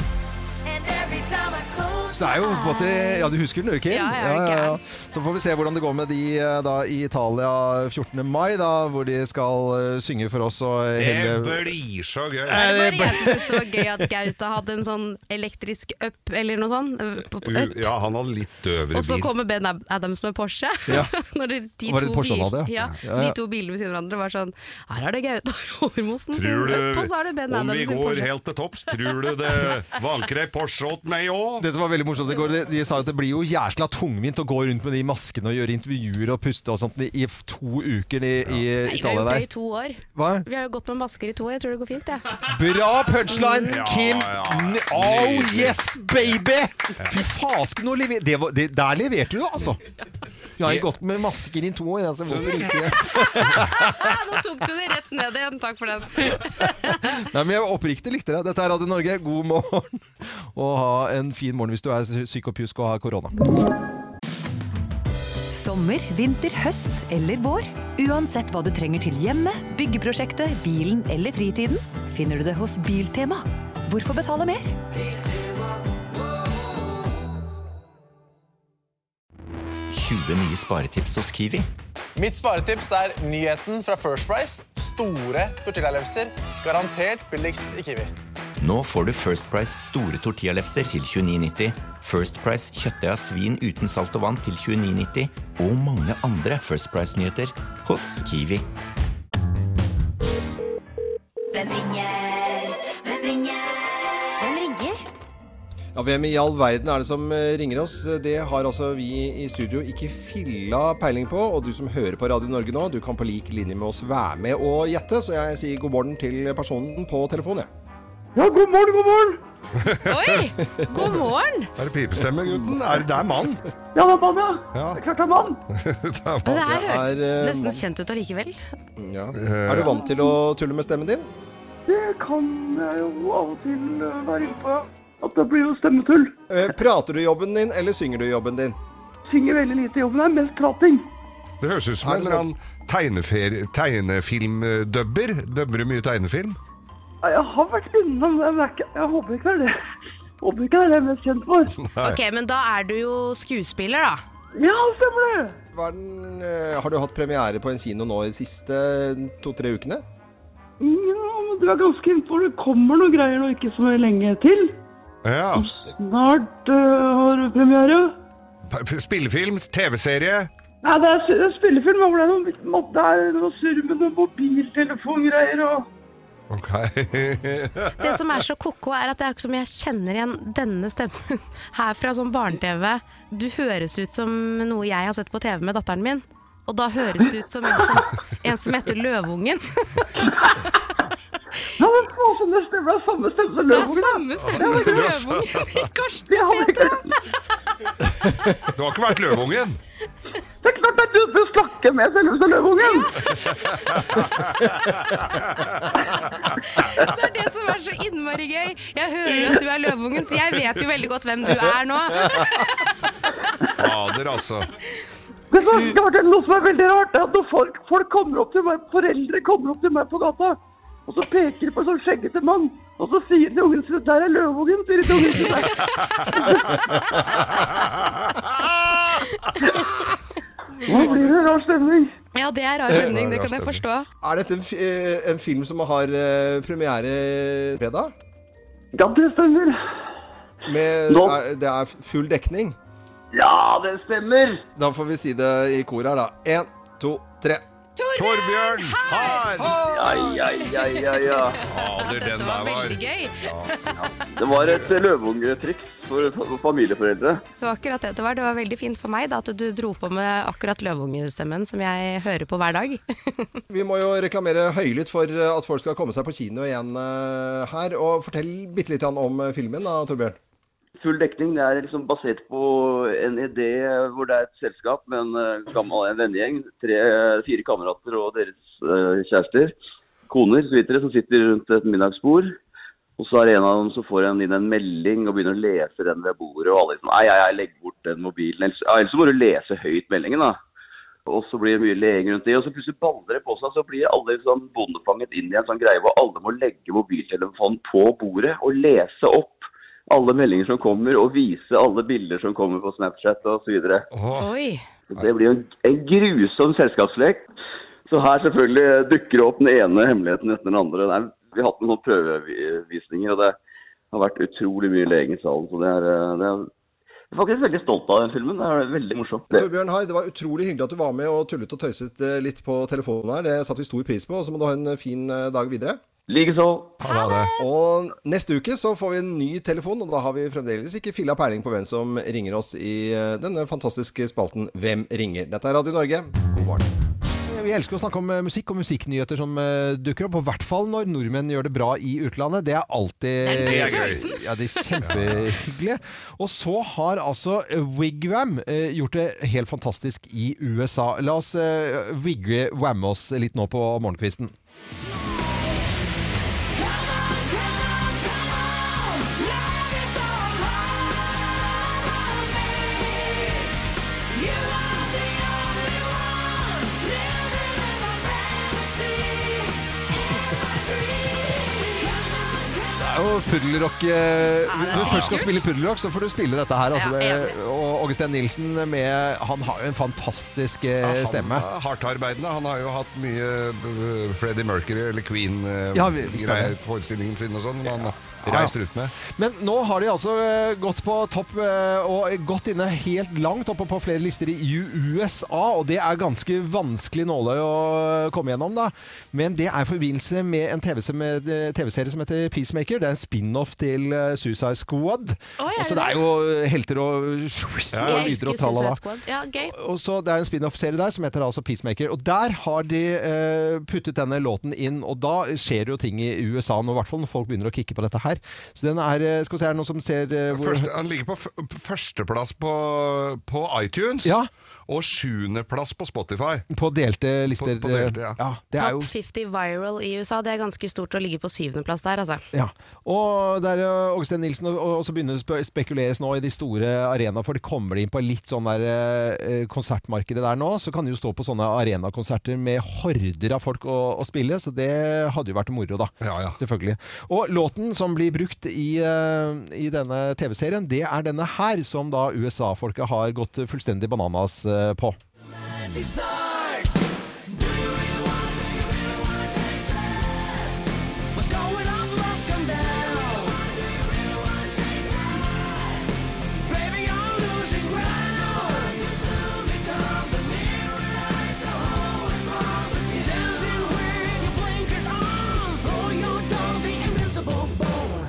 Speaker 9: And every time I close
Speaker 1: Så det er jo på en måte Ja, du husker den, jo, Kim?
Speaker 3: Ja, ja, gæren.
Speaker 1: Så får vi se hvordan det går med de eh, da i Italia 14. mai, da, hvor de skal eh, synge for oss og
Speaker 2: det
Speaker 1: hele
Speaker 2: blir så gøy.
Speaker 1: Eh,
Speaker 3: Det var jeg synes det var gøy at Gauta hadde en sånn elektrisk up eller noe sånt. Up, up.
Speaker 2: Ja, han hadde litt døvere
Speaker 3: Og så
Speaker 2: bil.
Speaker 3: kommer Ben Ad- Adams med Porsche.
Speaker 1: Ja.
Speaker 3: [laughs] Når de, de
Speaker 1: Var det
Speaker 3: to
Speaker 1: Porsche han
Speaker 3: bil-
Speaker 1: hadde,
Speaker 3: ja.
Speaker 1: ja? Ja, ja.
Speaker 3: De to bilene ved siden av hverandre var sånn Her er det Gaute Hormosen sin
Speaker 2: Tror
Speaker 3: up, og så er det
Speaker 2: du,
Speaker 3: Ben
Speaker 2: om vi
Speaker 3: Adams sin
Speaker 2: går
Speaker 3: Porsche.
Speaker 2: helt til topps, tror du det vanker ei Porsche åt meg òg?
Speaker 1: det som var veldig morsomt i går, de, de sa at det blir jo jæsla tungvint å gå rundt med de maskene og gjøre intervjuer og puste og sånt i, i to uker i, i
Speaker 3: Nei, vi har
Speaker 1: Italia
Speaker 3: gjort det
Speaker 1: der.
Speaker 3: i to år.
Speaker 1: Hva?
Speaker 3: Vi har jo gått med masker i to år. Jeg tror det går fint, jeg.
Speaker 1: Bra punchline,
Speaker 2: Ja,
Speaker 1: Kim!
Speaker 2: ja.
Speaker 1: N- Oh
Speaker 2: Nydelig.
Speaker 1: yes, baby! Fy fasken, nå lever det var, det, der leverte du,
Speaker 2: [laughs]
Speaker 1: altså. Jeg har gått med masker i to år, altså. Hvorfor ikke?
Speaker 3: Ja, [laughs] nå tok du det rett ned igjen. Takk for den.
Speaker 1: Nei, men jeg oppriktig likte det. Dette er Radio Norge, god morgen. [laughs] Og ha en fin morgen hvis du er syk og pjusk og har korona.
Speaker 10: Sommer, vinter, høst eller vår. Uansett hva du trenger til hjemme, byggeprosjektet, bilen eller fritiden, finner du det hos Biltema. Hvorfor betale mer?
Speaker 11: Mitt sparetips er nyheten fra First Price. Store tortillalefser. Garantert billigst i Kiwi.
Speaker 12: Nå får du First Price store tortillalefser til 29,90. First Price kjøttdeig av svin uten salt og vann til 29,90. Og mange andre First Price-nyheter hos Kiwi.
Speaker 9: Hvem ringer? Hvem ringer? Hvem ringer?
Speaker 1: Ja, Hvem i all verden er det som eh, ringer oss? Det har altså vi i studio ikke filla peiling på. Og du som hører på Radio Norge nå, du kan på lik linje med oss være med og gjette. Så jeg sier god morgen til personen på telefonen, jeg.
Speaker 3: Oi! God morgen!
Speaker 2: Er det pipestemme, gutten? Er det der mann? Ja, det er mann, ja. Klart det er mann.
Speaker 3: Det her hørtes
Speaker 1: Er, eh,
Speaker 3: nesten kjent ut allikevel.
Speaker 1: ja. er du vant til å tulle med stemmen din? Det kan jeg jo av og til være inne på. At det blir jo stemmetull. Eh, Prater du i jobben din, eller synger du i jobben din?
Speaker 2: Det høres ut
Speaker 1: Er
Speaker 2: som en
Speaker 1: det
Speaker 2: eller annen tegnefer- tegnefilmdubber. Dubber du mye tegnefilm?
Speaker 11: Jeg har vært innom det, men jeg håper ikke det er det. Håper ikke det er det jeg er mest kjent for.
Speaker 3: Ok, men da er du jo skuespiller, da.
Speaker 11: Ja, stemmer det!
Speaker 1: Hva er den, eh, har du hatt premiere på en kino nå i de siste to-tre ukene?
Speaker 11: Ja, men du er ganske innenfor. Det kommer noen greier nå ikke så lenge til.
Speaker 2: Ja.
Speaker 11: Snart øh, har du premiere.
Speaker 2: P- Spillefilm, TV-serie.
Speaker 11: Nei, det er, det er spillefilm. men Det er noe, det er noe surr med noen mobiltelefongreier og
Speaker 2: Ok. [laughs]
Speaker 3: Det som er så ko-ko, er at det er ikke som jeg kjenner igjen denne stemmen [laughs] her fra sånn barne-TV. Du høres ut som noe jeg har sett på TV med datteren min. Og da høres du ut som en som, en som heter Løvungen. [laughs]
Speaker 11: Ja, men faen, det stemmer. Det er samme stemme som
Speaker 3: Det er
Speaker 11: Løvungen. da.
Speaker 3: samme stemme som Løvungen i Karsten
Speaker 11: Ja,
Speaker 3: og
Speaker 11: men
Speaker 3: Peter.
Speaker 2: Du har ikke vært Løvungen?
Speaker 11: Det er klart det er du som snakker med selveste Løvungen.
Speaker 3: Det er det som er så innmari gøy. Jeg hører jo at du er Løvungen, så jeg vet jo veldig godt hvem du er nå.
Speaker 2: Fader, altså.
Speaker 11: Det som er klart, det er noe som er veldig rart, det er at når folk, folk kommer opp til meg, foreldre kommer opp til meg på gata, og så peker de på en sånn skjeggete mann, og så sier de til ungen sin, der er Løvungen, sier de til ungen [laughs] sin. Nå blir det en rar stemning.
Speaker 3: Ja, det er rar stemning, det kan jeg forstå.
Speaker 1: Er dette en, fi- eh, en film som har eh, premiere fredag?
Speaker 11: Ja, det stemmer.
Speaker 1: Med,
Speaker 11: Nå.
Speaker 1: er, det er full dekning?
Speaker 11: Ja, det stemmer.
Speaker 1: Da får vi si det i kor her, da. Én, to, tre.
Speaker 2: Torbjørn Haar!
Speaker 11: Ja, ja, ja, ja.
Speaker 2: Fader, den
Speaker 3: Det
Speaker 2: der
Speaker 3: var
Speaker 2: var
Speaker 3: veldig gøy.
Speaker 11: Det var et løveungetriks for for familieforeldre.
Speaker 3: Det var akkurat det det var. Det var veldig fint for meg da, at du dro på med akkurat løveungestemmen som jeg hører på hver dag.
Speaker 1: Vi må jo reklamere høylytt for eh, at folk skal komme seg på kino igjen eh, her. Og fortell bitte litt om eh, filmen da, Torbjørn.
Speaker 11: Full dekning det er liksom basert på en idé hvor det er et selskap med en eh, gammel en vennegjeng. Tre, fire kamerater og deres eh, kjærester, koner så videre, som sitter rundt et middagsbord. Og så er det en av dem som får en, inn en melding og begynner å lese den ved bordet. Og alle liksom Nei, nei, nei, legg bort den mobilen. Ellers, ja, ellers så må du lese høyt meldingen, da. Og så blir det mye leing rundt det. Og så plutselig baller det på seg. Så blir alle sånn bondefanget inn i en sånn greie hvor alle må legge mobiltelefonen på bordet og lese opp alle meldinger som kommer, og vise alle bilder som kommer på Snapchat osv.
Speaker 3: [laughs] Oi.
Speaker 11: Det blir jo en, en grusom selskapslek. Så her selvfølgelig dukker det opp den ene hemmeligheten etter den andre. Det er, vi har hatt noen sånne prøvevisninger, og det har vært utrolig mye leing i salen. Så det er, eh, det er jeg er faktisk veldig stolt av den filmen. Det er veldig morsomt. Det.
Speaker 1: Torbjørn Hai, det var utrolig hyggelig at du var med og tullet og tøyset eh, litt på telefonen her. Det satte vi stor pris på. Og så må du ha en eh, fin eh, dag videre.
Speaker 11: Likeså.
Speaker 2: Ha det.
Speaker 1: Og neste uke så får vi en ny telefon, og da har vi fremdeles ikke filla peiling på hvem som ringer oss i eh, denne fantastiske spalten Hvem ringer? Dette er Radio Norge. God morgen. Vi elsker å snakke om eh, musikk og musikknyheter som eh, dukker opp. Og i hvert fall når nordmenn gjør det bra i utlandet. Det er alltid
Speaker 2: Det er gøy.
Speaker 1: Ja, det er kjempehyggelig. Og så har altså Wigwam eh, gjort det helt fantastisk i USA. La oss eh, wigwamme oss litt nå på morgenkvisten. Det er jo puddelrock. eh, Når du først skal spille puddelrock, så får du spille dette her. Altså,
Speaker 3: Ja,
Speaker 1: det, og Augustin Nilsen med Han har jo en fantastisk eh,
Speaker 2: Han
Speaker 1: stemme.
Speaker 2: er Hardtarbeidende. Han har jo hatt mye øh, Freddie Mercury eller
Speaker 1: Ja, vi- vi stemmer.
Speaker 2: Queen-forestillingen sin og sånn. men Han har reist rundt med.
Speaker 1: Men nå har de altså eh, gått på topp eh, og gått inne helt langt oppe på flere lister i USA, og det er ganske vanskelig nåløy å eh, komme gjennom, da. Men det er i forbindelse med en TV som- eh, TV-serie som heter Peacemaker. Det er en spin-off til eh, Suicide Squad.
Speaker 3: Å, er det
Speaker 1: Altså, det er jo helter og, [laughs] og
Speaker 3: Jeg
Speaker 1: lyder
Speaker 3: elsker
Speaker 1: og tralala.
Speaker 3: Suicide Squad. Ja, gøy.
Speaker 1: Og så Det er en spin-off-serie der som heter altså Peacemaker. Og Der har de eh, puttet denne låten inn, og da skjer det jo ting i USA nå, i hvert fall når folk begynner å kikke på dette her. Så den er eh, Skal vi se, er det noen som ser eh, hvor
Speaker 2: Første, han ligger på f førsteplass på, på iTunes.
Speaker 1: Ja.
Speaker 2: Og sjuendeplass på Spotify.
Speaker 1: På delte lister. eh,
Speaker 2: på delte, ja.
Speaker 1: det er jo
Speaker 3: Top 50 viral i USA, det er ganske stort å ligge på syvendeplass der, altså.
Speaker 1: ja. Og der eh, Ågstein Nilsen og, og så begynner det å spe- spekuleres nå i de store arenaer, for de kommer inn på litt sånn der eh, konsertmarkedet der nå. Så kan de jo stå på sånne arenakonserter med horder av folk å, å spille, så det hadde jo vært moro, da.
Speaker 2: Ja, ja.
Speaker 1: Selvfølgelig. Og låten som blir brukt i, eh, i denne TV-serien, det er denne her, som da USA-folket har gått fullstendig bananas eh, på.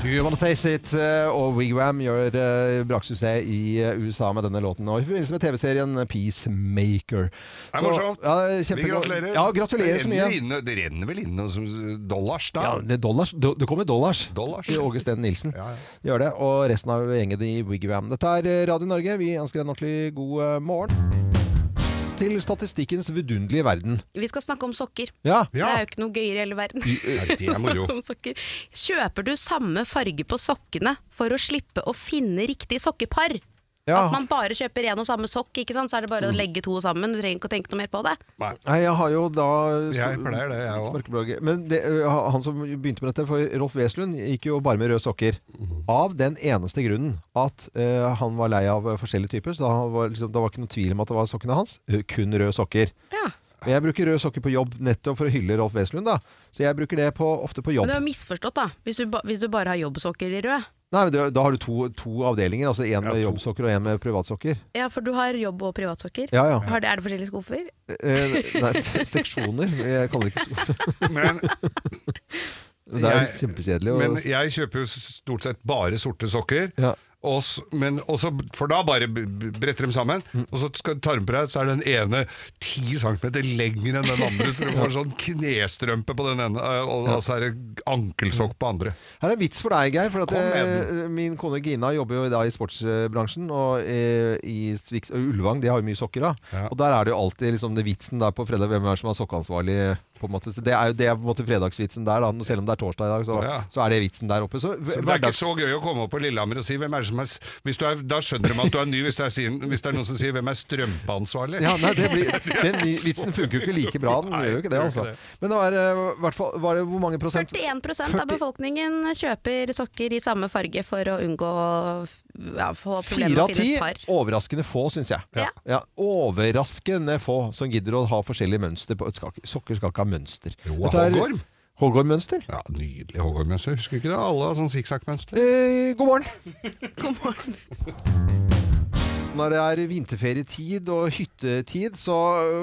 Speaker 1: Do You Wanna Taste It eh, og Wigwam gjør eh, braksuksess i eh, USA med denne låten, og i forbindelse med TV-serien Peacemaker.
Speaker 2: Det er
Speaker 1: Så-
Speaker 2: morsomt.
Speaker 1: Ja, kjempe-
Speaker 2: Vi gratulerer.
Speaker 1: Ja, gratulerer så mye.
Speaker 2: Det renner inn- Det renner vel inn noen som- dollars, da?
Speaker 1: Ja, det, er dollars, Do- det kommer dollars.
Speaker 2: Dollars.
Speaker 1: I Åge Steen Nilsen.
Speaker 2: Ja, ja.
Speaker 1: Gjør det. Og resten av gjengen i Wigwam. Dette er eh, Radio Norge. Vi ønsker en ordentlig god eh, morgen. Til statistikkens vidunderlige verden.
Speaker 3: Vi skal snakke om sokker.
Speaker 1: Ja.
Speaker 3: Det
Speaker 2: Ja.
Speaker 3: er jo ikke noe gøyere i hele verden.
Speaker 2: Ja, det
Speaker 3: å
Speaker 2: er
Speaker 3: [laughs]
Speaker 2: moro.
Speaker 3: snakke
Speaker 1: [laughs]
Speaker 3: om sokker. Kjøper du samme farge på sokkene for å slippe å finne riktig sokkepar?
Speaker 1: Ja.
Speaker 3: At man bare kjøper én og samme sokk, ikke sant? så er det bare å legge to sammen. Du trenger ikke å tenke noe mer på det.
Speaker 2: Nei,
Speaker 1: Nei, jeg har jo da
Speaker 2: jeg pleier det, jeg òg.
Speaker 1: Mørkeblogge. Men det, ø, han som begynte med dette, for Rolf Weslund, gikk jo bare med røde sokker.
Speaker 2: Mhm.
Speaker 1: Av den eneste grunnen at ø, han var lei av ø, forskjellige typer. Så da han var, liksom, det var ikke noe tvil om at det var sokkene hans. Ø, kun røde sokker.
Speaker 3: Ja.
Speaker 1: Og Jeg bruker røde sokker på jobb nettopp for å hylle Rolf Weslund, da. Så jeg bruker det på, ofte
Speaker 3: Men
Speaker 1: på jobb.
Speaker 3: du har misforstått, da. Hvis du, ba hvis du bare har jobbsokker i rød.
Speaker 1: Nei, men da- Da har du to, to avdelinger. Altså én med jobbsokker og én med privatsokker.
Speaker 3: Ja, for du har jobb og privatsokker.
Speaker 1: Ja, ja.
Speaker 3: Har det, er det forskjellige skuffer?
Speaker 1: Eh, nei, [laughs] se- seksjoner. Jeg kaller det ikke skuffer.
Speaker 2: Men-
Speaker 1: [laughs] det er
Speaker 2: Jeg-
Speaker 1: kjempekjedelig.
Speaker 2: Men
Speaker 1: å-
Speaker 2: jeg kjøper jo stort sett bare sorte sokker. Og s- men også, for da bare b- b- bretter de sammen,
Speaker 1: Mm.
Speaker 2: og så skal du ta dem på deg, så er den ene ti centimeter lengre enn den
Speaker 1: [laughs]
Speaker 2: andre, så du får sånn knestrømpe på den ene, eh, og, og så er det ankelsokk på andre.
Speaker 1: Her er en vits for deg, Geir. For at
Speaker 2: Kom med
Speaker 1: eh, min kone Gina jobber jo da i sportsbransjen. Og eh, i Sviks, og Ullevang, de har jo mye sokker, da. Og der er det jo alltid liksom, det vitsen der på fredag. Hvem er det som er sokkeansvarlig? På en måte. Så det er jo det er på en måte fredagsvitsen der, da. Selv om det er torsdag i dag, så,
Speaker 2: Ja.
Speaker 1: så er det vitsen der oppe. Så,
Speaker 2: Så det er ikke så gøy å komme opp på Lillehammer og si hvem er det som er, s- hvis du er Da skjønner de at du er ny, hvis det er, sin- hvis det er noen som sier 'hvem er strømpeansvarlig'?
Speaker 1: Ja, [laughs] nei, det
Speaker 2: [laughs]
Speaker 1: blir, den vitsen funker jo ikke like bra. Den
Speaker 2: Nei,
Speaker 1: gjør jo ikke det,
Speaker 2: gjør
Speaker 1: altså.
Speaker 2: ikke det.
Speaker 1: Men det var, eh, hvert fall, var det hvor mange prosent
Speaker 3: 41 av befolkningen kjøper sokker i samme farge for å unngå ja, få problemer
Speaker 1: Fire
Speaker 3: med
Speaker 1: av
Speaker 3: å
Speaker 1: ti
Speaker 3: finne et par. [laughs]
Speaker 1: overraskende få, syns jeg.
Speaker 3: Ja.
Speaker 1: Ja, overraskende få som gidder å ha forskjellige mønster. På, skal, ikke- sokker skal ikke ha mønster. Dette er-
Speaker 2: hoggorm.
Speaker 1: Hoggormmønster?
Speaker 2: Ja, nydelig hoggormmønster. Husker ikke det? Alle har sånn sikksakkmønster.
Speaker 1: Eh, god morgen. Når det er vinterferietid og hyttetid, så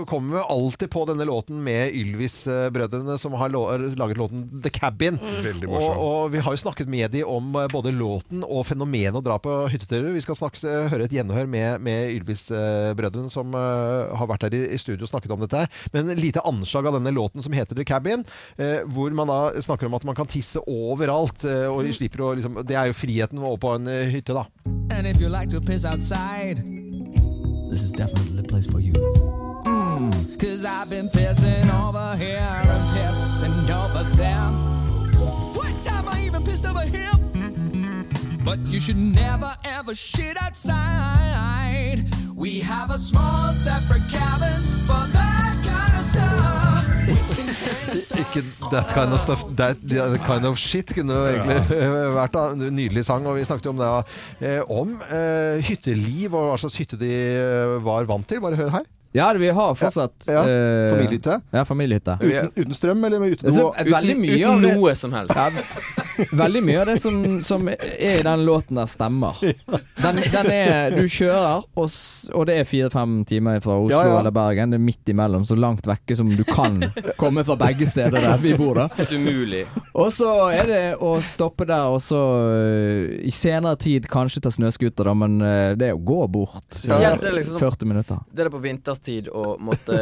Speaker 1: kommer vi alltid på denne låten med Ylvis-brødrene, som har lå- laget låten The Cabin.
Speaker 3: Mhm.
Speaker 2: Veldig
Speaker 1: Og,
Speaker 2: morsom.
Speaker 1: og vi har jo snakket med de om eh, både låten og fenomenet å dra på hytteturer. Vi skal snakks, eh, høre et gjenhør med, med Ylvis-brødrene som eh, har vært her i, i studio og snakket om dette. her. Men en lite anslag av denne låten som heter The Cabin, eh, hvor man da snakker om at man kan tisse overalt. eh, og de slipper å liksom, Det er jo friheten å på en eh, hytte, da.
Speaker 13: And if you like to piss outside, this is definitely the place for you. Mm, Cause I've been pissing over here and pissing over there. What time I even pissed over here? But you should never ever shit outside. We have a small separate cabin for that kind of stuff.
Speaker 1: Ikke that kind of stuff, that, that kind of shit kunne det jo egentlig [laughs] vært da. En Nydelig sang, og vi snakket jo om det. eh, Om eh, hytteliv og hva slags hytte de eh, var vant til. Bare hør her.
Speaker 14: Ja, vi har fortsatt
Speaker 1: Ja, ja.
Speaker 14: eh,
Speaker 1: Familiehytte?
Speaker 14: Ja, familiehytte.
Speaker 1: Uten, uten strøm eller med uten
Speaker 14: Altså,
Speaker 1: noe?
Speaker 14: veldig mye av det,
Speaker 15: som helst.
Speaker 14: Ja, ve- veldig mye av det som, som er i den låten der, stemmer. Den, den er Du kjører, og, s- og det er fire-fem timer fra Oslo
Speaker 15: Ja, ja.
Speaker 14: eller Bergen. Det er midt imellom, så langt vekke som du kan komme fra begge steder der vi bor, da.
Speaker 15: Helt umulig.
Speaker 14: Og så er det å stoppe der, og så øh, i senere tid kanskje ta snøscooter, da, men øh, det er å gå bort.
Speaker 15: Spesielt det er liksom-
Speaker 14: 40 minutter.
Speaker 15: Det er det på vinterstid å måtte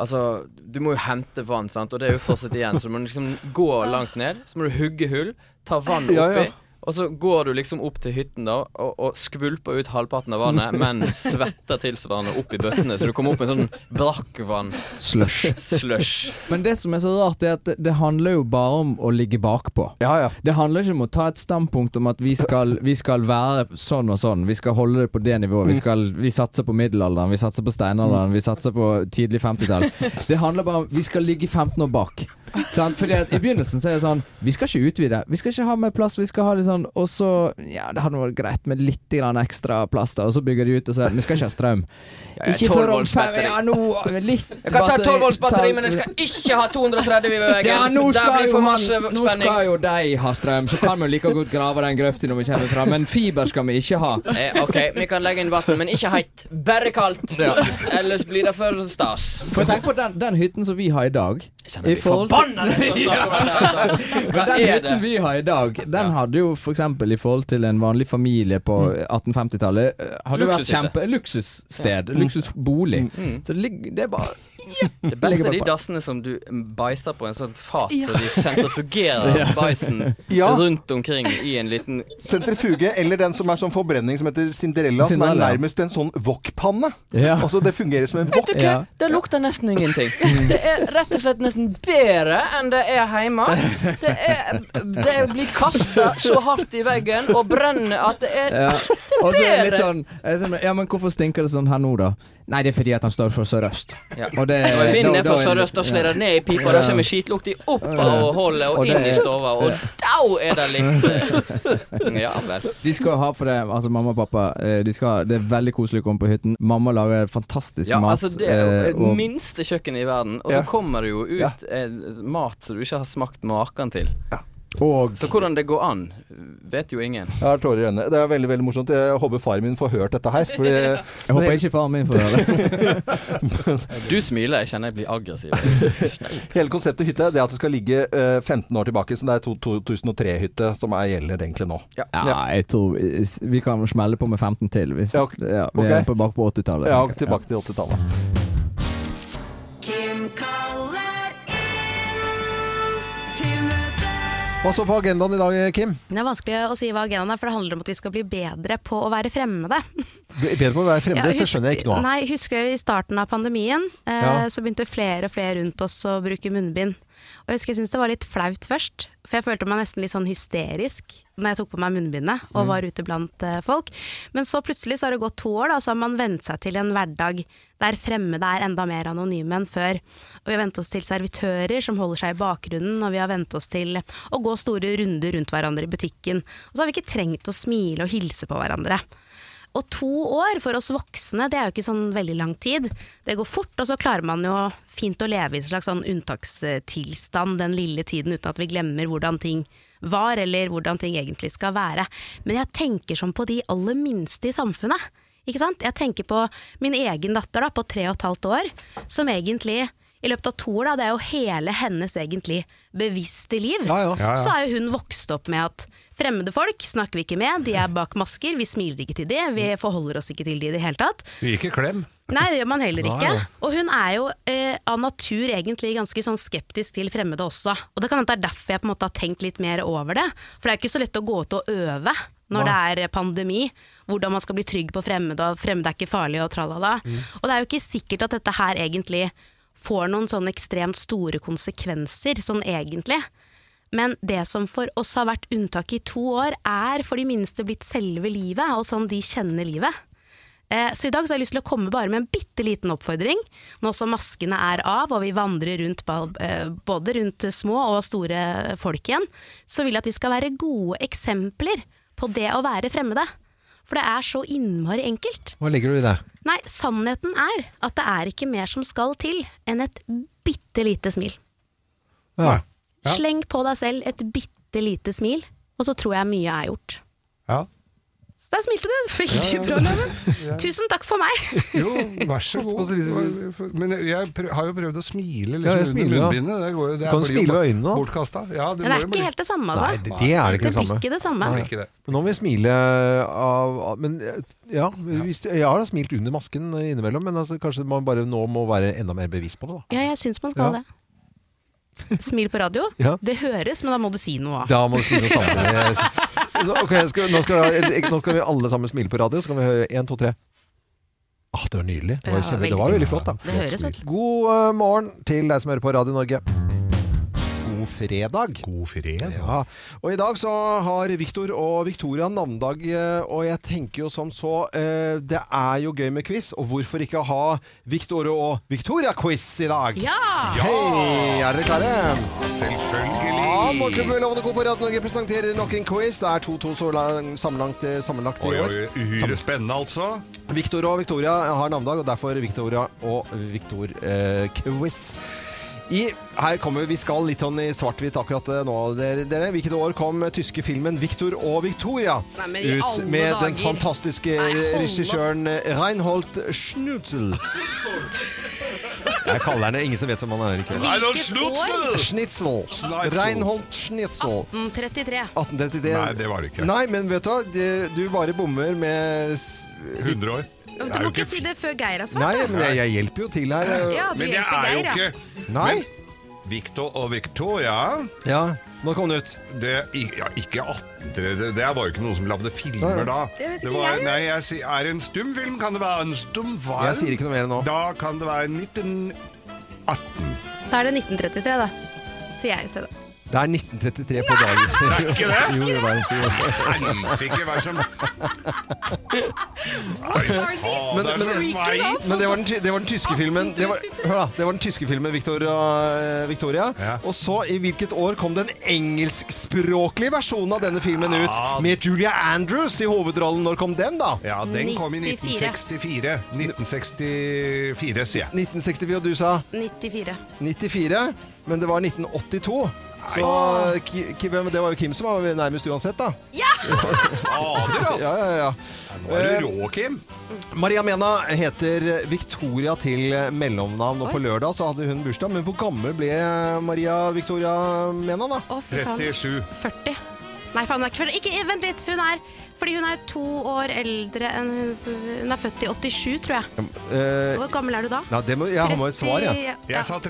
Speaker 15: Altså, du må jo hente vann, sant, og det er jo fortsatt igjen, så du må liksom gå langt ned. Så må du hugge hull, ta vann oppi.
Speaker 14: Ja, ja.
Speaker 15: Og så går du liksom opp til hytten da og, og skvulper ut halvparten av vannet, men svetter tilsvarende opp i bøttene, så du kommer opp med sånn brakkvann.
Speaker 14: Slush.
Speaker 15: Slush.
Speaker 14: Men det som er så rart, er at det, det handler jo bare om å ligge bakpå. Det handler ikke om å ta et standpunkt om at vi skal, vi skal være sånn og sånn. Vi skal holde det på det nivået. Vi, skal, vi satser på middelalderen, vi satser på steinalderen, vi satser på tidlig 50-tall. Det handler bare om vi skal ligge 15 år bak. Sant? Fordi at I begynnelsen så er det sånn Vi skal ikke utvide. Vi skal ikke ha mer plass. Vi skal ha litt sånn Og så Ja, det hadde vært greit med litt grann ekstra plass, da. Og så bygger de ut og sier Vi skal ikke ha strøm.
Speaker 15: Ja, ja, 12 volts batteri.
Speaker 14: Ja, nå eh, Litt
Speaker 15: Eh, Jeg kan ta
Speaker 14: batteri-
Speaker 15: 12 volts batteri,
Speaker 14: ta-
Speaker 15: men jeg skal ikke ha 230 i veggen.
Speaker 14: ja, nå
Speaker 15: Der
Speaker 14: skal,
Speaker 15: blir
Speaker 14: jo
Speaker 15: for
Speaker 14: han,
Speaker 15: masse
Speaker 14: nå
Speaker 15: spenning.
Speaker 14: skal jo de ha strøm, så kan vi jo like godt grave den grøfta når vi kommer fram. Men fiber skal vi ikke ha.
Speaker 15: Eh, OK, vi kan legge inn vann, men ikke heit. Bare kaldt.
Speaker 14: Ja.
Speaker 15: Ellers blir det for stas.
Speaker 14: For tenk på den, den hytten som vi har i dag i forhold til-
Speaker 15: Forbanna deg for å snakke om det! [laughs] altså.
Speaker 14: Men
Speaker 15: Hva er
Speaker 14: den
Speaker 15: det?
Speaker 14: hytten vi har i dag, den hadde jo for eksempel i forhold til en vanlig familie på 1850-tallet eh, Hadde jo vært
Speaker 15: Mm. Luksushytte.
Speaker 14: kjempe luksussted,
Speaker 15: Ja.
Speaker 14: luksusbolig.
Speaker 15: Mm.
Speaker 14: Så det, ligger- det er bare
Speaker 15: Det
Speaker 14: Legger
Speaker 15: beste
Speaker 14: bare
Speaker 15: er de
Speaker 14: på.
Speaker 15: dassene som du bæsjer på en sånn fat,
Speaker 14: Ja.
Speaker 15: så de
Speaker 14: [laughs]
Speaker 15: sentrifugerer
Speaker 1: Ja.
Speaker 15: bæsjen
Speaker 1: Ja.
Speaker 15: rundt omkring i en liten
Speaker 16: Sentrifuge, eller den som er sånn forbrenning som heter Cinderella, som er
Speaker 15: Cinderella, ja.
Speaker 16: nærmest en sånn wokpanne.
Speaker 14: Ja.
Speaker 16: Altså, det fungerer som en wok.
Speaker 15: Vet du hva? Det lukter nesten [laughs] ingenting. Det er rett og slett nesten bedre enn det er hjemme. Det, er, det blir kasta så hardt i veggen og brenner at det er
Speaker 14: Ja.
Speaker 15: Det
Speaker 14: Og så er det litt
Speaker 15: bedre.
Speaker 14: sånn eh, sånn, Ja, men hvorfor stinker det sånn her nå, da? Nei, det er fordi at han står for sørøst.
Speaker 15: Ja.
Speaker 14: Og det-
Speaker 15: Når vinden er
Speaker 14: Eh, da- da
Speaker 15: fra
Speaker 14: er det-
Speaker 15: sørøst, da slår det ned i pipa, da
Speaker 14: Ja.
Speaker 15: kommer skitlukta opp
Speaker 14: Ja.
Speaker 15: av hullet og
Speaker 14: Og det
Speaker 15: inn i
Speaker 14: er-
Speaker 15: stua, og da er det litt eh, Ja vel.
Speaker 14: De skal ha for det, altså mamma og pappa eh, de skal, ha- Det er veldig koselig å komme på hytten. Mamma lager fantastisk
Speaker 15: Ja,
Speaker 14: mat.
Speaker 15: altså Det er jo
Speaker 14: eh,
Speaker 15: det
Speaker 14: og-
Speaker 15: minste kjøkkenet i verden, og så
Speaker 14: Ja.
Speaker 15: kommer det jo
Speaker 14: Ja.
Speaker 15: ut eh, mat som du ikke har smakt maken til.
Speaker 14: Og
Speaker 17: Så hvordan det går an, vet jo ingen.
Speaker 16: Jeg har tårer i øynene. Det er veldig veldig morsomt. Jeg håper faren min får hørt dette her. Fordi,
Speaker 14: Jeg håper ikke faren min får høre det.
Speaker 17: Du smiler, jeg kjenner jeg blir aggressiv.
Speaker 16: Hele konseptet hytte det er at det skal ligge eh, 15 år tilbake. Så det er to- 2003-hytte som er gjelder egentlig nå.
Speaker 14: [laughs] Ja, jeg tror vi- Vi kan smelle på med 15 til. Hvis, ja, vi er
Speaker 16: ok.
Speaker 14: på Mm. bak på 80-tallet.
Speaker 16: Ja,
Speaker 14: tenker jeg.
Speaker 16: tilbake til 80-tallet.
Speaker 9: Kim kaller inn til møte.
Speaker 1: Hva står på agendaen i dag, Kim?
Speaker 3: Det er vanskelig å si hva agendaen er, for det handler om at vi skal bli bedre på å være fremmede.
Speaker 1: Bedre på å være
Speaker 3: Ja,
Speaker 1: fremmed, dette
Speaker 3: husk-
Speaker 1: skjønner jeg ikke noe av.
Speaker 3: Nei, husker dere i starten av pandemien, eh,
Speaker 1: Ja.
Speaker 3: så begynte flere og flere rundt oss å bruke munnbind. Og jeg husker jeg syntes det var litt flaut først, for jeg følte meg nesten litt sånn hysterisk når jeg tok på meg munnbindet og
Speaker 18: Mm.
Speaker 3: var ute blant eh, folk. Men så plutselig så har det gått to år, da, så har man vent seg til en hverdag der fremmede er enda mer anonyme enn før. Og vi har vent oss til servitører som holder seg i bakgrunnen, og vi har vent oss til å gå store runder rundt hverandre i butikken. Og så har vi ikke trengt å smile og hilse på hverandre. Og to år for oss voksne, det er jo ikke sånn veldig lang tid. Det går fort, og så klarer man jo fint å leve i en slags sånn unntakstilstand den lille tiden, uten at vi glemmer hvordan ting var, eller hvordan ting egentlig skal være. Men jeg tenker som på de aller minste i samfunnet. Ikke sant? Jeg tenker på min egen datter da, på tre og et halvt år, som egentlig i løpet av to år, da, det er jo hele hennes egentlig bevisste liv.
Speaker 18: Ja, ja.
Speaker 3: Så er jo hun vokst opp med at fremmede folk snakker vi ikke med, de er bak masker, vi smiler ikke til de, vi forholder oss ikke til de i det hele tatt.
Speaker 2: Vi gikk i klem.
Speaker 3: Nei, det gjør man heller
Speaker 2: Nei,
Speaker 3: ikke.
Speaker 2: ja.
Speaker 3: Og hun er jo eh, av natur egentlig ganske sånn skeptisk til fremmede også. Og det kan hende det er derfor jeg på en måte har tenkt litt mer over det. For det er jo ikke så lett å gå ut og øve når det er pandemi. Hvordan man skal bli trygg på fremmede, og fremmede er ikke farlige og tralala.
Speaker 18: Mm.
Speaker 3: Og det er jo ikke sikkert at dette her egentlig får noen sånne ekstremt store konsekvenser, sånn egentlig. Men det som for oss har vært unntaket i to år, er for de minste blitt selve livet, og sånn de kjenner livet. Eh, Så i dag så har jeg lyst til å komme bare med en bitte liten oppfordring. Nå som maskene er av og vi vandrer rundt ba- eh, både rundt små og store folk igjen, så vil jeg at vi skal være gode eksempler på det å være fremmede. For det er så innmari enkelt.
Speaker 1: Hva legger du i det?
Speaker 3: Nei, sannheten er at det er ikke mer som skal til enn et bitte lite smil.
Speaker 1: Ja.
Speaker 2: Ja.
Speaker 3: Sleng på deg selv et bitte lite smil, og så tror jeg mye er gjort.
Speaker 2: Ja.
Speaker 3: Så der smilte du. Veldig
Speaker 2: [laughs] Ja, ja.
Speaker 3: bra, Loven. Tusen takk for meg.
Speaker 2: Jo, vær så god. Men jeg prøv, har jo prøvd å smile
Speaker 1: Ja, jeg
Speaker 2: liksom,
Speaker 1: smiler,
Speaker 2: under
Speaker 1: ja.
Speaker 2: munnbindet. Det går jo- det
Speaker 1: Kan du
Speaker 2: blir jo
Speaker 1: smile med
Speaker 2: bare
Speaker 1: øynene, da?
Speaker 2: Bortkasta. Ja,
Speaker 3: Men det er ikke helt det samme, altså.
Speaker 1: Nei, det, det er det ikke det
Speaker 3: blir
Speaker 1: samme.
Speaker 3: ikke det samme.
Speaker 1: Nei. Men nå må vi smile av av- Men ja, hvis, jeg har da smilt under masken innimellom, men altså, kanskje man bare nå må være enda mer bevisst på det, da.
Speaker 3: Ja, jeg syns man skal
Speaker 1: Ja.
Speaker 3: det. Smil på radio.
Speaker 1: [laughs] Ja.
Speaker 3: Det høres, men da må du si noe.
Speaker 1: Da må du si noe samtidig. Nå- Ok, skal, nå, skal, nå skal vi alle sammen smile på radio, så kan vi høre 1, 2, 3. Ah, det var nydelig. Det var,
Speaker 3: Ja,
Speaker 1: kjempe,
Speaker 3: veldig
Speaker 1: det var veldig
Speaker 3: fint.
Speaker 1: flott, da.
Speaker 3: Det høres ut.
Speaker 1: God eh, morgen til deg som hører på Radio Norge. God fredag.
Speaker 2: God fredag.
Speaker 1: Ja. Og i dag så har Viktor og Victoria navnedag, eh, og jeg tenker jo som så eh, Det er jo gøy med quiz, og hvorfor ikke ha Viktor og Victoria-quiz i dag?
Speaker 3: Ja!
Speaker 1: Hei, er dere klare?
Speaker 2: Selvfølgelig.
Speaker 1: Ja, Morgenklubben Lovende Co. på Radio Norge presenterer nok en quiz. Det er 2-2 så lang, sammenlagt, eh, sammenlagt i
Speaker 2: Oi,
Speaker 1: år.
Speaker 2: oi, uhyre spennende, altså.
Speaker 1: Victor og Victoria har navnedag, og derfor Victoria og Victor eh, Quiz. I, her kommer Vi skal litt sånn i svart-hvitt akkurat eh, nå, dere. dere. Hvilket år kom eh, tyske filmen 'Victor og Victoria'
Speaker 16: Nei, men i
Speaker 1: ut
Speaker 16: alle
Speaker 1: med den
Speaker 16: dager.
Speaker 1: fantastiske
Speaker 16: Nei, hold opp.
Speaker 1: regissøren eh, Reinhold
Speaker 16: [laughs]
Speaker 1: Schnutzel? Jeg kaller henne Ingen som vet hvem han er. eller ikke.
Speaker 3: Reinhold Schnutzel! år?
Speaker 1: Schnitzel. Reinhold Schnitzel.
Speaker 3: Mm, 1833.
Speaker 1: Ah, 1833.
Speaker 2: Nei, det var det ikke.
Speaker 1: Nei, men vet du hva? Det- Du bare bommer med
Speaker 2: 100 år.
Speaker 3: Du må ikke si det før Geir har svart.
Speaker 1: Nei,
Speaker 3: da.
Speaker 1: men jeg, jeg hjelper jo til her.
Speaker 3: Ja, du
Speaker 2: Men det
Speaker 3: hjelper
Speaker 2: er jo
Speaker 3: Geir, ja.
Speaker 2: ikke
Speaker 1: Nei.
Speaker 2: Men Victor og Victoria
Speaker 1: Ja, Når kom det ut?
Speaker 2: Det, i- ja, ikke 18... Det, det var jo ikke noen som lagde filmer da.
Speaker 1: Jeg vet ikke,
Speaker 2: det var,
Speaker 1: jeg-
Speaker 2: Nei, jeg sier Er det en stumfilm? Kan det være en stumfilm?
Speaker 1: Jeg sier ikke noe mer nå.
Speaker 2: Da kan det være 19...
Speaker 3: Da er det 1933, da. Så jeg ser det.
Speaker 1: Det er 1933 på
Speaker 2: [laughs]
Speaker 1: dagen.
Speaker 2: Det er ikke det?
Speaker 1: Jo, det var jo.
Speaker 2: Helsike, hva er det som
Speaker 1: Men, men, men det, var den, ty- det var den tyske filmen det var, Hør da, det var den tyske filmen Victoria, Victoria. Og så i hvilket år kom den engelskspråklige versjonen av denne filmen ut Med Julia Andrews i hovedrollen Når kom den da?
Speaker 2: Ah. Ja, den kom i 1964. 1964, sier jeg.
Speaker 1: 1964, og du sa
Speaker 3: 94.
Speaker 1: 94 Men det var 1982 Så eh, Ki- Kim, det var jo Kim som var nærmest uansett, da.
Speaker 9: Ja!
Speaker 2: [laughs] Fader, ass!
Speaker 1: Ja, ja, ja.
Speaker 2: Nå er du rå, Kim.
Speaker 1: Maria Mena heter Victoria til mellomnavn, og på lørdag så hadde hun bursdag. Men hvor gammel ble Maria Victoria Mena, da?
Speaker 3: Å, fy faen. 37. 40. Nei, faen, hun er ikke, født- ikke Vent litt! Hun er fordi hun er to år eldre enn hun Hun er født i 87, tror jeg.
Speaker 1: Eh,
Speaker 3: Hvor gammel er du da?
Speaker 1: Nei, det må, jeg har med et svar, jeg.
Speaker 3: 30, Jeg sa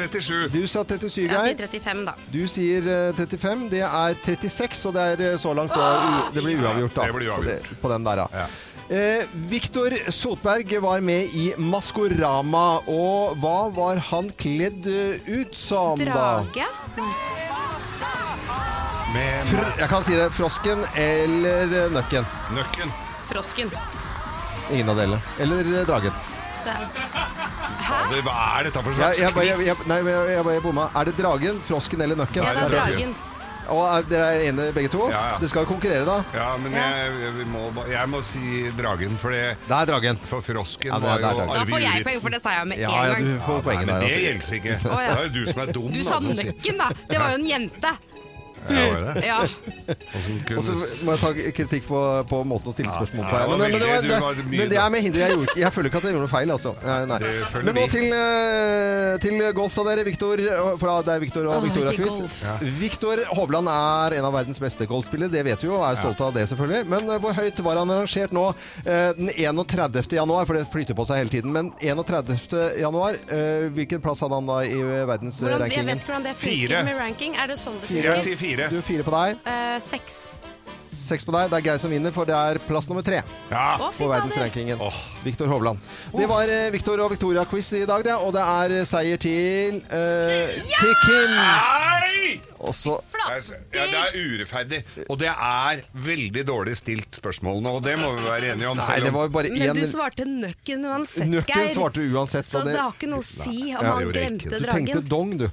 Speaker 2: 37.
Speaker 1: Du sa 37,
Speaker 3: Jeg sier
Speaker 1: Geir.
Speaker 3: 35, da.
Speaker 1: Du sier eh, 35. Det er 36, og det er eh, så langt da, u Det blir uavgjort, da.
Speaker 2: Ah, Ja, det blir
Speaker 1: på det- På den der, da. Eh, Viktor Sotberg var med i Maskorama, og hva var han kledd eh, ut som, da?
Speaker 3: Drage?
Speaker 1: Fr jeg kan si det. Frosken eller eh, nøkken?
Speaker 2: Nøkken.
Speaker 3: Frosken.
Speaker 1: Ingen av delene. Eller eh, dragen.
Speaker 3: Det er
Speaker 2: Fader, Hva er dette for
Speaker 1: Jeg,
Speaker 2: slags
Speaker 1: jeg, bare- jeg, jeg,
Speaker 2: quiz?
Speaker 1: nei, jeg, jeg, bare bomma. Er det dragen, frosken eller nøkken?
Speaker 2: Ja, det er Det er dragen. dragen.
Speaker 1: Og er, dere er enige begge to?
Speaker 2: Ja, ja.
Speaker 1: Dere skal konkurrere, da?
Speaker 2: Ja, men jeg, jeg, må, ba- jeg må si dragen, for det
Speaker 1: Det er dragen.
Speaker 2: For frosken
Speaker 1: Ja, det er- det er
Speaker 2: var jo
Speaker 1: dragen.
Speaker 3: Da
Speaker 2: Arve
Speaker 3: får jeg
Speaker 2: Juritzen.
Speaker 3: poeng, for det sa jeg med
Speaker 2: Ja,
Speaker 3: en
Speaker 2: ja,
Speaker 3: gang.
Speaker 2: du får Ja, poengen nei, men der, det altså. gjelder ikke.
Speaker 3: Å,
Speaker 2: Det er jo du som er dum,
Speaker 3: Du sa
Speaker 1: Sånn,
Speaker 2: altså.
Speaker 3: nøkken, da. Det var jo en jente.
Speaker 2: Ja, var det?
Speaker 3: Ja.
Speaker 2: Hvordan kunne-
Speaker 1: Og så må jeg ta kritikk på, på måten å stille spørsmål på.
Speaker 2: Ja,
Speaker 1: her. Men, men,
Speaker 2: det
Speaker 1: det,
Speaker 2: var
Speaker 1: var,
Speaker 2: veldig- du
Speaker 1: det,
Speaker 2: var mye-
Speaker 1: men det er med hinder jeg gjorde. Jeg føler ikke at jeg gjorde noe feil, altså. Ja, nei.
Speaker 2: føler
Speaker 1: Men nå
Speaker 2: vi.
Speaker 1: til, eh, til golf da, dere. Victor, for da- det er Victor og
Speaker 2: Åh, ikke
Speaker 1: Victoria-quiz.
Speaker 2: golf. Ja.
Speaker 1: Victor Hovland er en av verdens beste golfspillere, det vet vi jo. og Er stolte av det, selvfølgelig. Men eh, hvor høyt var han rangert nå eh, den 31. januar? For det flytter på seg hele tiden. Men 31. januar, eh, hvilken plass hadde han da i
Speaker 3: Hvordan, jeg vet
Speaker 1: verdensrankingen?
Speaker 3: ikke hvordan det funker
Speaker 1: Fire.
Speaker 3: med ranking. Er det sånn det
Speaker 1: Du er fire på deg.
Speaker 3: Eh, seks.
Speaker 1: Seks på deg. Det er Geir som vinner, for det er plass nummer tre
Speaker 2: ja.
Speaker 3: Å, fy
Speaker 1: på verdensrankingen. Viktor Hovland. Det var eh, Viktor og Victoria-quiz i dag, det, og det er eh, seier til eh, til Kim. Og så
Speaker 2: Ja, det er urettferdig. Og det er veldig dårlig stilt spørsmålene, og det må vi være enige om.
Speaker 1: Nei,
Speaker 2: selv om-
Speaker 1: det var jo bare
Speaker 3: Men du svarte nøkken uansett,
Speaker 1: Nøkken
Speaker 3: Geir.
Speaker 1: svarte uansett.
Speaker 3: Så det har ikke noe å si om han glemte
Speaker 1: Du
Speaker 3: dragen.
Speaker 1: tenkte dong, du.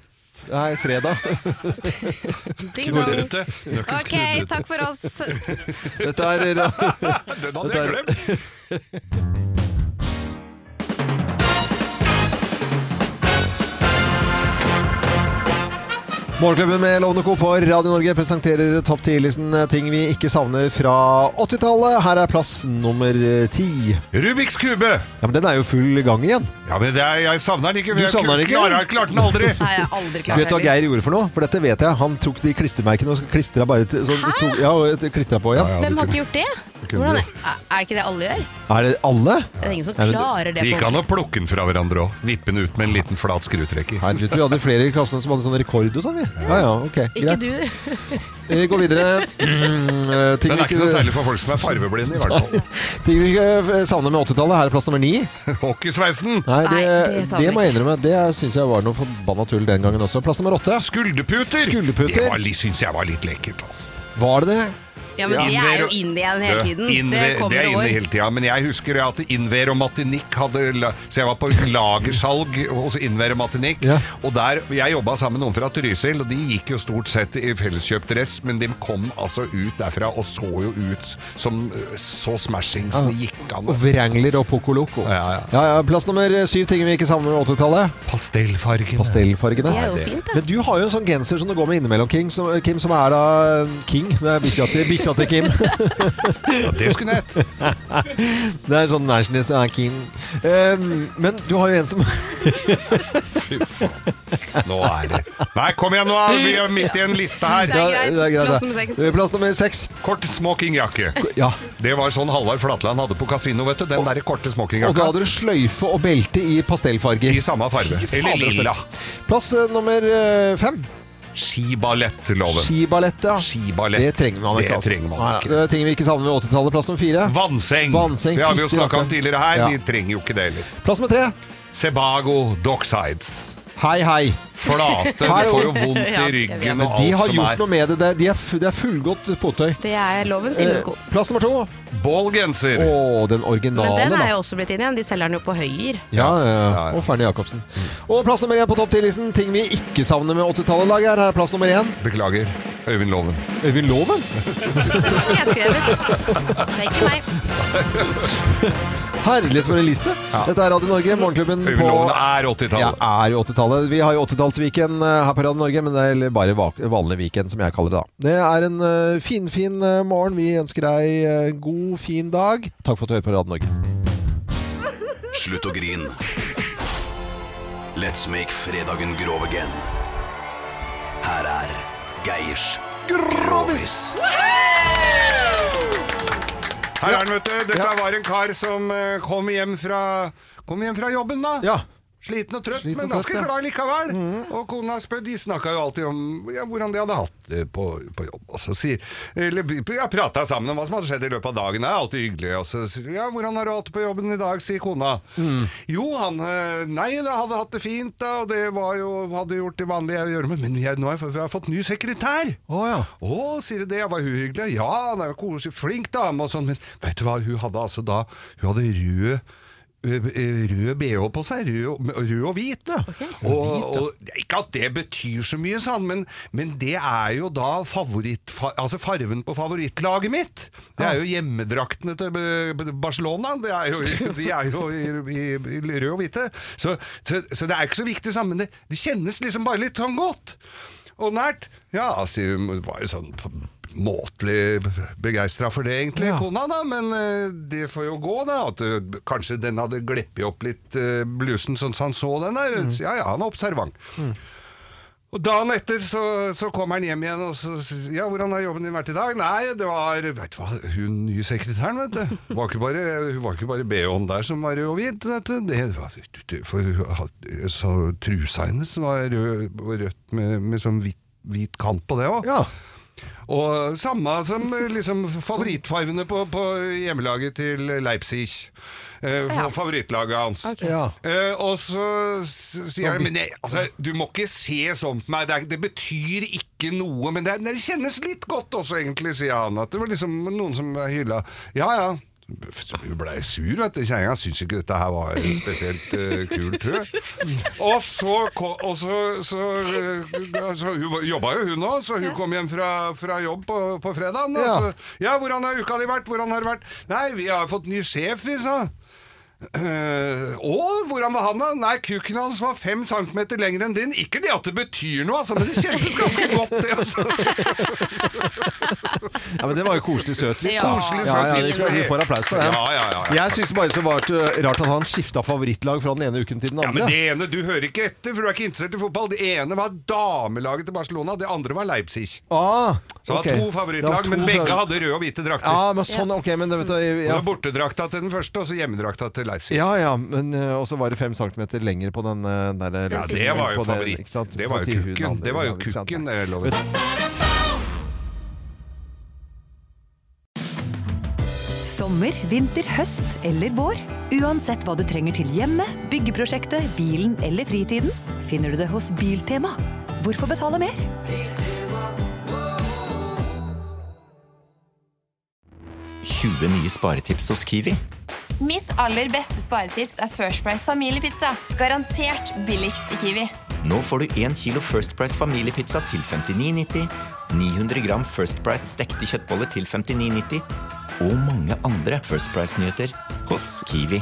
Speaker 1: Nei, fredag. [laughs]
Speaker 3: Ding dong. Ok, takk for oss.
Speaker 1: Dette er eh, Den
Speaker 2: hadde jeg
Speaker 1: Morgenklubben med Lovende Co. på Radio Norge presenterer topp 10-listen ting vi ikke savner fra 80-tallet. Her er plass nummer eh, ti.
Speaker 2: Rubiks kube!
Speaker 1: Ja, men den er jo full gang igjen.
Speaker 2: Ja, men det er, jeg savner den ikke. for
Speaker 1: Du
Speaker 2: jeg
Speaker 1: savner den ikke?
Speaker 2: Klarer, jeg klarte den aldri.
Speaker 3: Nei, jeg har aldri
Speaker 1: Vet du hva Geir gjorde for noe? For dette vet jeg. Han tok de klistremerkene og klistra bare til, så, tok, ja, og klistret på igjen.
Speaker 3: Hvem har ikke gjort det?
Speaker 1: kunne
Speaker 3: Hvordan er, er det ikke det alle gjør?
Speaker 1: Er det alle?
Speaker 3: Det er ingen som
Speaker 1: Er det-
Speaker 3: klarer det.
Speaker 2: Det
Speaker 3: på
Speaker 2: gikk an å
Speaker 3: ordentlig.
Speaker 2: plukke den fra hverandre òg. Vippe den ut med en liten flat skrutrekker.
Speaker 1: Herregud, vi hadde flere i klassen som hadde sånn rekord og sånn, vi. Ja, ja, ok,
Speaker 3: Ikke
Speaker 1: greit.
Speaker 3: du.
Speaker 1: Vi går videre. Mm, eh, ting
Speaker 2: Den
Speaker 1: vi
Speaker 2: er ikke noe særlig for folk som er farveblinde, i hvert fall.
Speaker 1: Ting vi ikke eh, savner med 80-tallet. Her er plass nummer ni.
Speaker 2: Hockeysveisen!
Speaker 1: Nei, det,
Speaker 2: Nei, det
Speaker 1: det,
Speaker 2: savner
Speaker 1: må jeg innrømme. Det syns jeg var noe forbanna tull den gangen også. Plass nummer åtte.
Speaker 2: Skulderputer!
Speaker 1: Skulderputer.
Speaker 2: Det var litt- syns jeg var litt lekkert, altså.
Speaker 1: Var det det?
Speaker 3: Ja, men det er jo inn igjen hele tiden. Det
Speaker 2: Innve- det er
Speaker 3: kommer
Speaker 2: inne
Speaker 3: år.
Speaker 2: hele tida. Men jeg husker at Inver og Matinik hadde la- Så jeg var på lagersalg hos Inver og Matinik. Og der, jeg jobba sammen med noen fra Trysil, og de gikk jo stort sett i felleskjøpt dress, men de kom altså ut derfra og så jo ut som eh, så smashing som det gikk an.
Speaker 1: Og Wrangler og Poco Loco. Ja, ja. plass nummer syv ting vi ikke savner med 80-tallet.
Speaker 2: Pastellfargene.
Speaker 1: Pastellfargene.
Speaker 2: Det er jo fint,
Speaker 1: Men du har jo en sånn genser som det går med innimellom, King, som, Kim, som er da King. Det er bikkja til, bikkja til Kim. [laughs]
Speaker 2: Ja, det skulle jeg hett. [laughs]
Speaker 1: Det er sånn Nationalist er King. Ehm, men du har jo en som
Speaker 2: Fy faen. Nå er det Nei, kom igjen, nå er vi er midt i en liste her.
Speaker 1: Det er greit. Ja, det er greit, Plass det. nummer seks. Plass nummer seks.
Speaker 2: Kort smokingjakke.
Speaker 1: Ja.
Speaker 2: Det var sånn Halvard Flatland hadde på kasino, vet du. Den derre
Speaker 1: Og
Speaker 2: korte
Speaker 1: da hadde
Speaker 2: smokingjakka.
Speaker 1: du sløyfe og belte i pastellfarger.
Speaker 2: I samme farge.
Speaker 1: Fy
Speaker 2: Eller
Speaker 1: fader, det er
Speaker 2: lilla.
Speaker 1: støkt. Plass eh, nummer eh, fem.
Speaker 2: Skiballettloven.
Speaker 1: Skiballett, ja.
Speaker 2: Skiballett.
Speaker 1: Det trenger man ikke.
Speaker 2: Det
Speaker 1: altså.
Speaker 2: trenger man
Speaker 1: Nei,
Speaker 2: ikke.
Speaker 1: Det er ting vi ikke savner ved 80-tallet. Plass nummer fire.
Speaker 2: Vannseng.
Speaker 1: Vannseng
Speaker 2: Det har vi jo
Speaker 1: fint i
Speaker 2: snakka om
Speaker 1: rakkeren.
Speaker 2: tidligere her.
Speaker 1: Ja.
Speaker 2: Vi trenger jo ikke det heller.
Speaker 1: Plass nummer tre.
Speaker 2: Sebago Docksides.
Speaker 1: Hei, hei.
Speaker 2: Flate. Du
Speaker 1: Hallo.
Speaker 2: får jo vondt
Speaker 1: Ja,
Speaker 2: i
Speaker 1: jeg vet.
Speaker 2: ryggen
Speaker 1: Men
Speaker 2: og
Speaker 1: de
Speaker 2: alt
Speaker 1: har
Speaker 2: som
Speaker 1: gjort
Speaker 2: er.
Speaker 1: noe med det. Det er, de er, f- det er fullgodt fottøy.
Speaker 3: Det er lovens innesko.
Speaker 1: Eh, plass nummer to.
Speaker 2: Ballgenser.
Speaker 1: Å, den originale,
Speaker 3: Men den
Speaker 1: da.
Speaker 3: er jo også blitt inn igjen. De selger den jo på Høyer.
Speaker 1: Ja, ja, ja. Og Fernie Jacobsen.
Speaker 2: Mm.
Speaker 1: Og plass nummer én på topp 10-listen. Ting vi ikke savner med 80-tallet, Lager. Her er plass nummer én.
Speaker 2: Beklager. Øyvind Loven.
Speaker 1: Øyvind Loven?
Speaker 3: Jeg har skrevet. Det er ikke meg.
Speaker 1: Herlighet for en liste. Dette er Radio Norge, Morgenklubben på
Speaker 2: Øyvind Loven er 80-tallet.
Speaker 1: er jo 80-tallet. Vi har jo 80-tallet Oppdalsviken eh, her på Radio Norge, men det er eller bare va- vanlig Viken, som jeg kaller det da. Det er en eh, fin, fin eh, morgen. Vi ønsker deg eh, god, fin dag. Takk for at du hører på Radio Norge.
Speaker 18: Slutt å grin. Let's make fredagen grov again. Her er Geirs Grovis.
Speaker 2: Her er den, vet du. Dette var en kar som eh, kom hjem fra, kom hjem fra jobben, da. Sliten og trøtt,
Speaker 16: Sliten
Speaker 2: men
Speaker 16: og trøtt,
Speaker 2: ganske
Speaker 16: ja. Mm.
Speaker 2: glad likevel. Og kona spør, de snakka jo alltid om ja, hvordan de hadde hatt det på, på jobb. Og så sier Eller ja, prata sammen om hva som hadde skjedd i løpet av dagen. Det er alltid hyggelig. Og så sier de, ja, hvordan har du hatt det på jobben i dag, sier kona.
Speaker 16: Mm.
Speaker 2: Jo, han eh, Nei, jeg hadde hatt det fint, da, og det var jo Hadde gjort det vanlige jeg gjør, men- men jeg, nå har jeg, fått- jeg har fått ny sekretær.
Speaker 1: Å,
Speaker 2: sier de det. Var hun hyggelig? Ja, hun er jo koselig, flink dame og sånn, men vet du hva, hun hadde altså da Hun hadde rød ø, ø, Rød BH på seg, rød, og- rød og hvit. da. og, og, ikke at det betyr så mye, sa han, men, men det er jo da favoritt, fa, altså farven på favorittlaget mitt. Det er jo hjemmedraktene til ø, Barcelona. Det er jo, [laughs] de er jo i, i, i rød og hvite. Så, så, så det er ikke så viktig sammen. Det, det kjennes liksom bare litt sånn godt og nært. Ja, altså, hun var jo sånn på- måtelig begeistra for det, egentlig, kona, da. Men eh, det får jo gå, da. At eh, kanskje den hadde gleppet opp litt eh, blusen sånn som han så den der. Så Ja, ja, han er observant. Og Dagen etter så, så kommer han hjem igjen og så sier Ja, hvordan har jobben din vært i dag? Nei, det var Vet du hva, hun nye sekretæren, vet du. Var ikke bare, hun var ikke bare BH-en der som var rød og hvit. Vet du. Det var, for hun hadde- så trusa hennes var rød, rødt med, med sånn hvit, hvit kant på det òg. Og samme som eh, liksom, favorittfarvene på, på hjemmelaget til Leipzig. Eh,
Speaker 16: Ja.
Speaker 2: Favorittlaget hans.
Speaker 16: Ok. Ja.
Speaker 2: Eh, og så s- sier jeg Men nei, altså, du må ikke se sånn på meg. Det, er, det betyr ikke noe. Men det, er- det kjennes litt godt også, egentlig, sier han. At det var liksom noen som hylla. Ja ja. Hun blei sur, vet du. Kjerringa syntes ikke dette her var en spesielt eh, kul tur. Og så, ko- og så, så, eh, så Hun var- jobba jo, hun òg, så hun kom hjem fra, fra jobb på, på fredagen. Og
Speaker 16: Ja.
Speaker 2: så Ja, hvordan har uka di vært? Hvordan har det vært? Nei, vi har fått ny sjef, vi, sa. Uh, og hvordan var han da? Nei, kuken hans var fem centimeter lengre enn din. Ikke det at det betyr noe, altså, men det kjentes ganske godt, det. Altså.
Speaker 1: Ja, men Det var jo koselig søt vits. da.
Speaker 2: Ja. Koselig
Speaker 1: [laughs]
Speaker 2: søt
Speaker 1: ja, ja,
Speaker 2: vits,
Speaker 1: vi får-
Speaker 2: men-
Speaker 1: vi får applaus for det.
Speaker 2: Ja, ja, ja, ja.
Speaker 1: Jeg syns bare så var det eh, rart at han skifta favorittlag fra den ene uken til den
Speaker 2: Ja,
Speaker 1: andre.
Speaker 2: men det ene, Du hører ikke etter, for du er ikke interessert i fotball. Det ene var damelaget til Barcelona, det andre var Leipzig.
Speaker 1: Ah,
Speaker 2: Så det var
Speaker 1: ok.
Speaker 2: to favorittlag,
Speaker 1: Det var to
Speaker 2: men begge
Speaker 1: favoritt-
Speaker 2: hadde røde og hvite drakter.
Speaker 1: Ja, men sånn, ok, men det, vet du, jeg,
Speaker 2: Det
Speaker 1: ja.
Speaker 2: var bortedrakta til den første, og så hjemmedrakta til Leipzig.
Speaker 1: Ja, ja, men eh, også var det fem centimeter lenger på den eh, der
Speaker 2: Ja,
Speaker 1: lagen
Speaker 2: det var jo
Speaker 1: på den,
Speaker 2: favoritt.
Speaker 1: ikke sant?
Speaker 2: Det
Speaker 1: På
Speaker 2: var jo
Speaker 1: tilhuden
Speaker 2: kukken.
Speaker 1: andre,
Speaker 2: Det var jo
Speaker 1: ikke sant?
Speaker 2: kukken, eh,
Speaker 1: Nei.
Speaker 2: det lover
Speaker 1: Vet-
Speaker 10: Sommer, vinter, høst eller vår. Uansett hva du trenger til hjemme, byggeprosjektet, bilen eller fritiden, finner du det hos Biltema. Hvorfor betale mer?
Speaker 9: Biltema.
Speaker 12: 20 nye sparetips hos Kiwi.
Speaker 19: Mitt aller beste sparetips er First Price familiepizza. Garantert billigst i Kiwi.
Speaker 12: Nå får du 1 kilo First Price familiepizza til 59,90, 900 gram First Price stekte kjøttboller til 59,90 og mange andre First Price-nyheter hos Kiwi.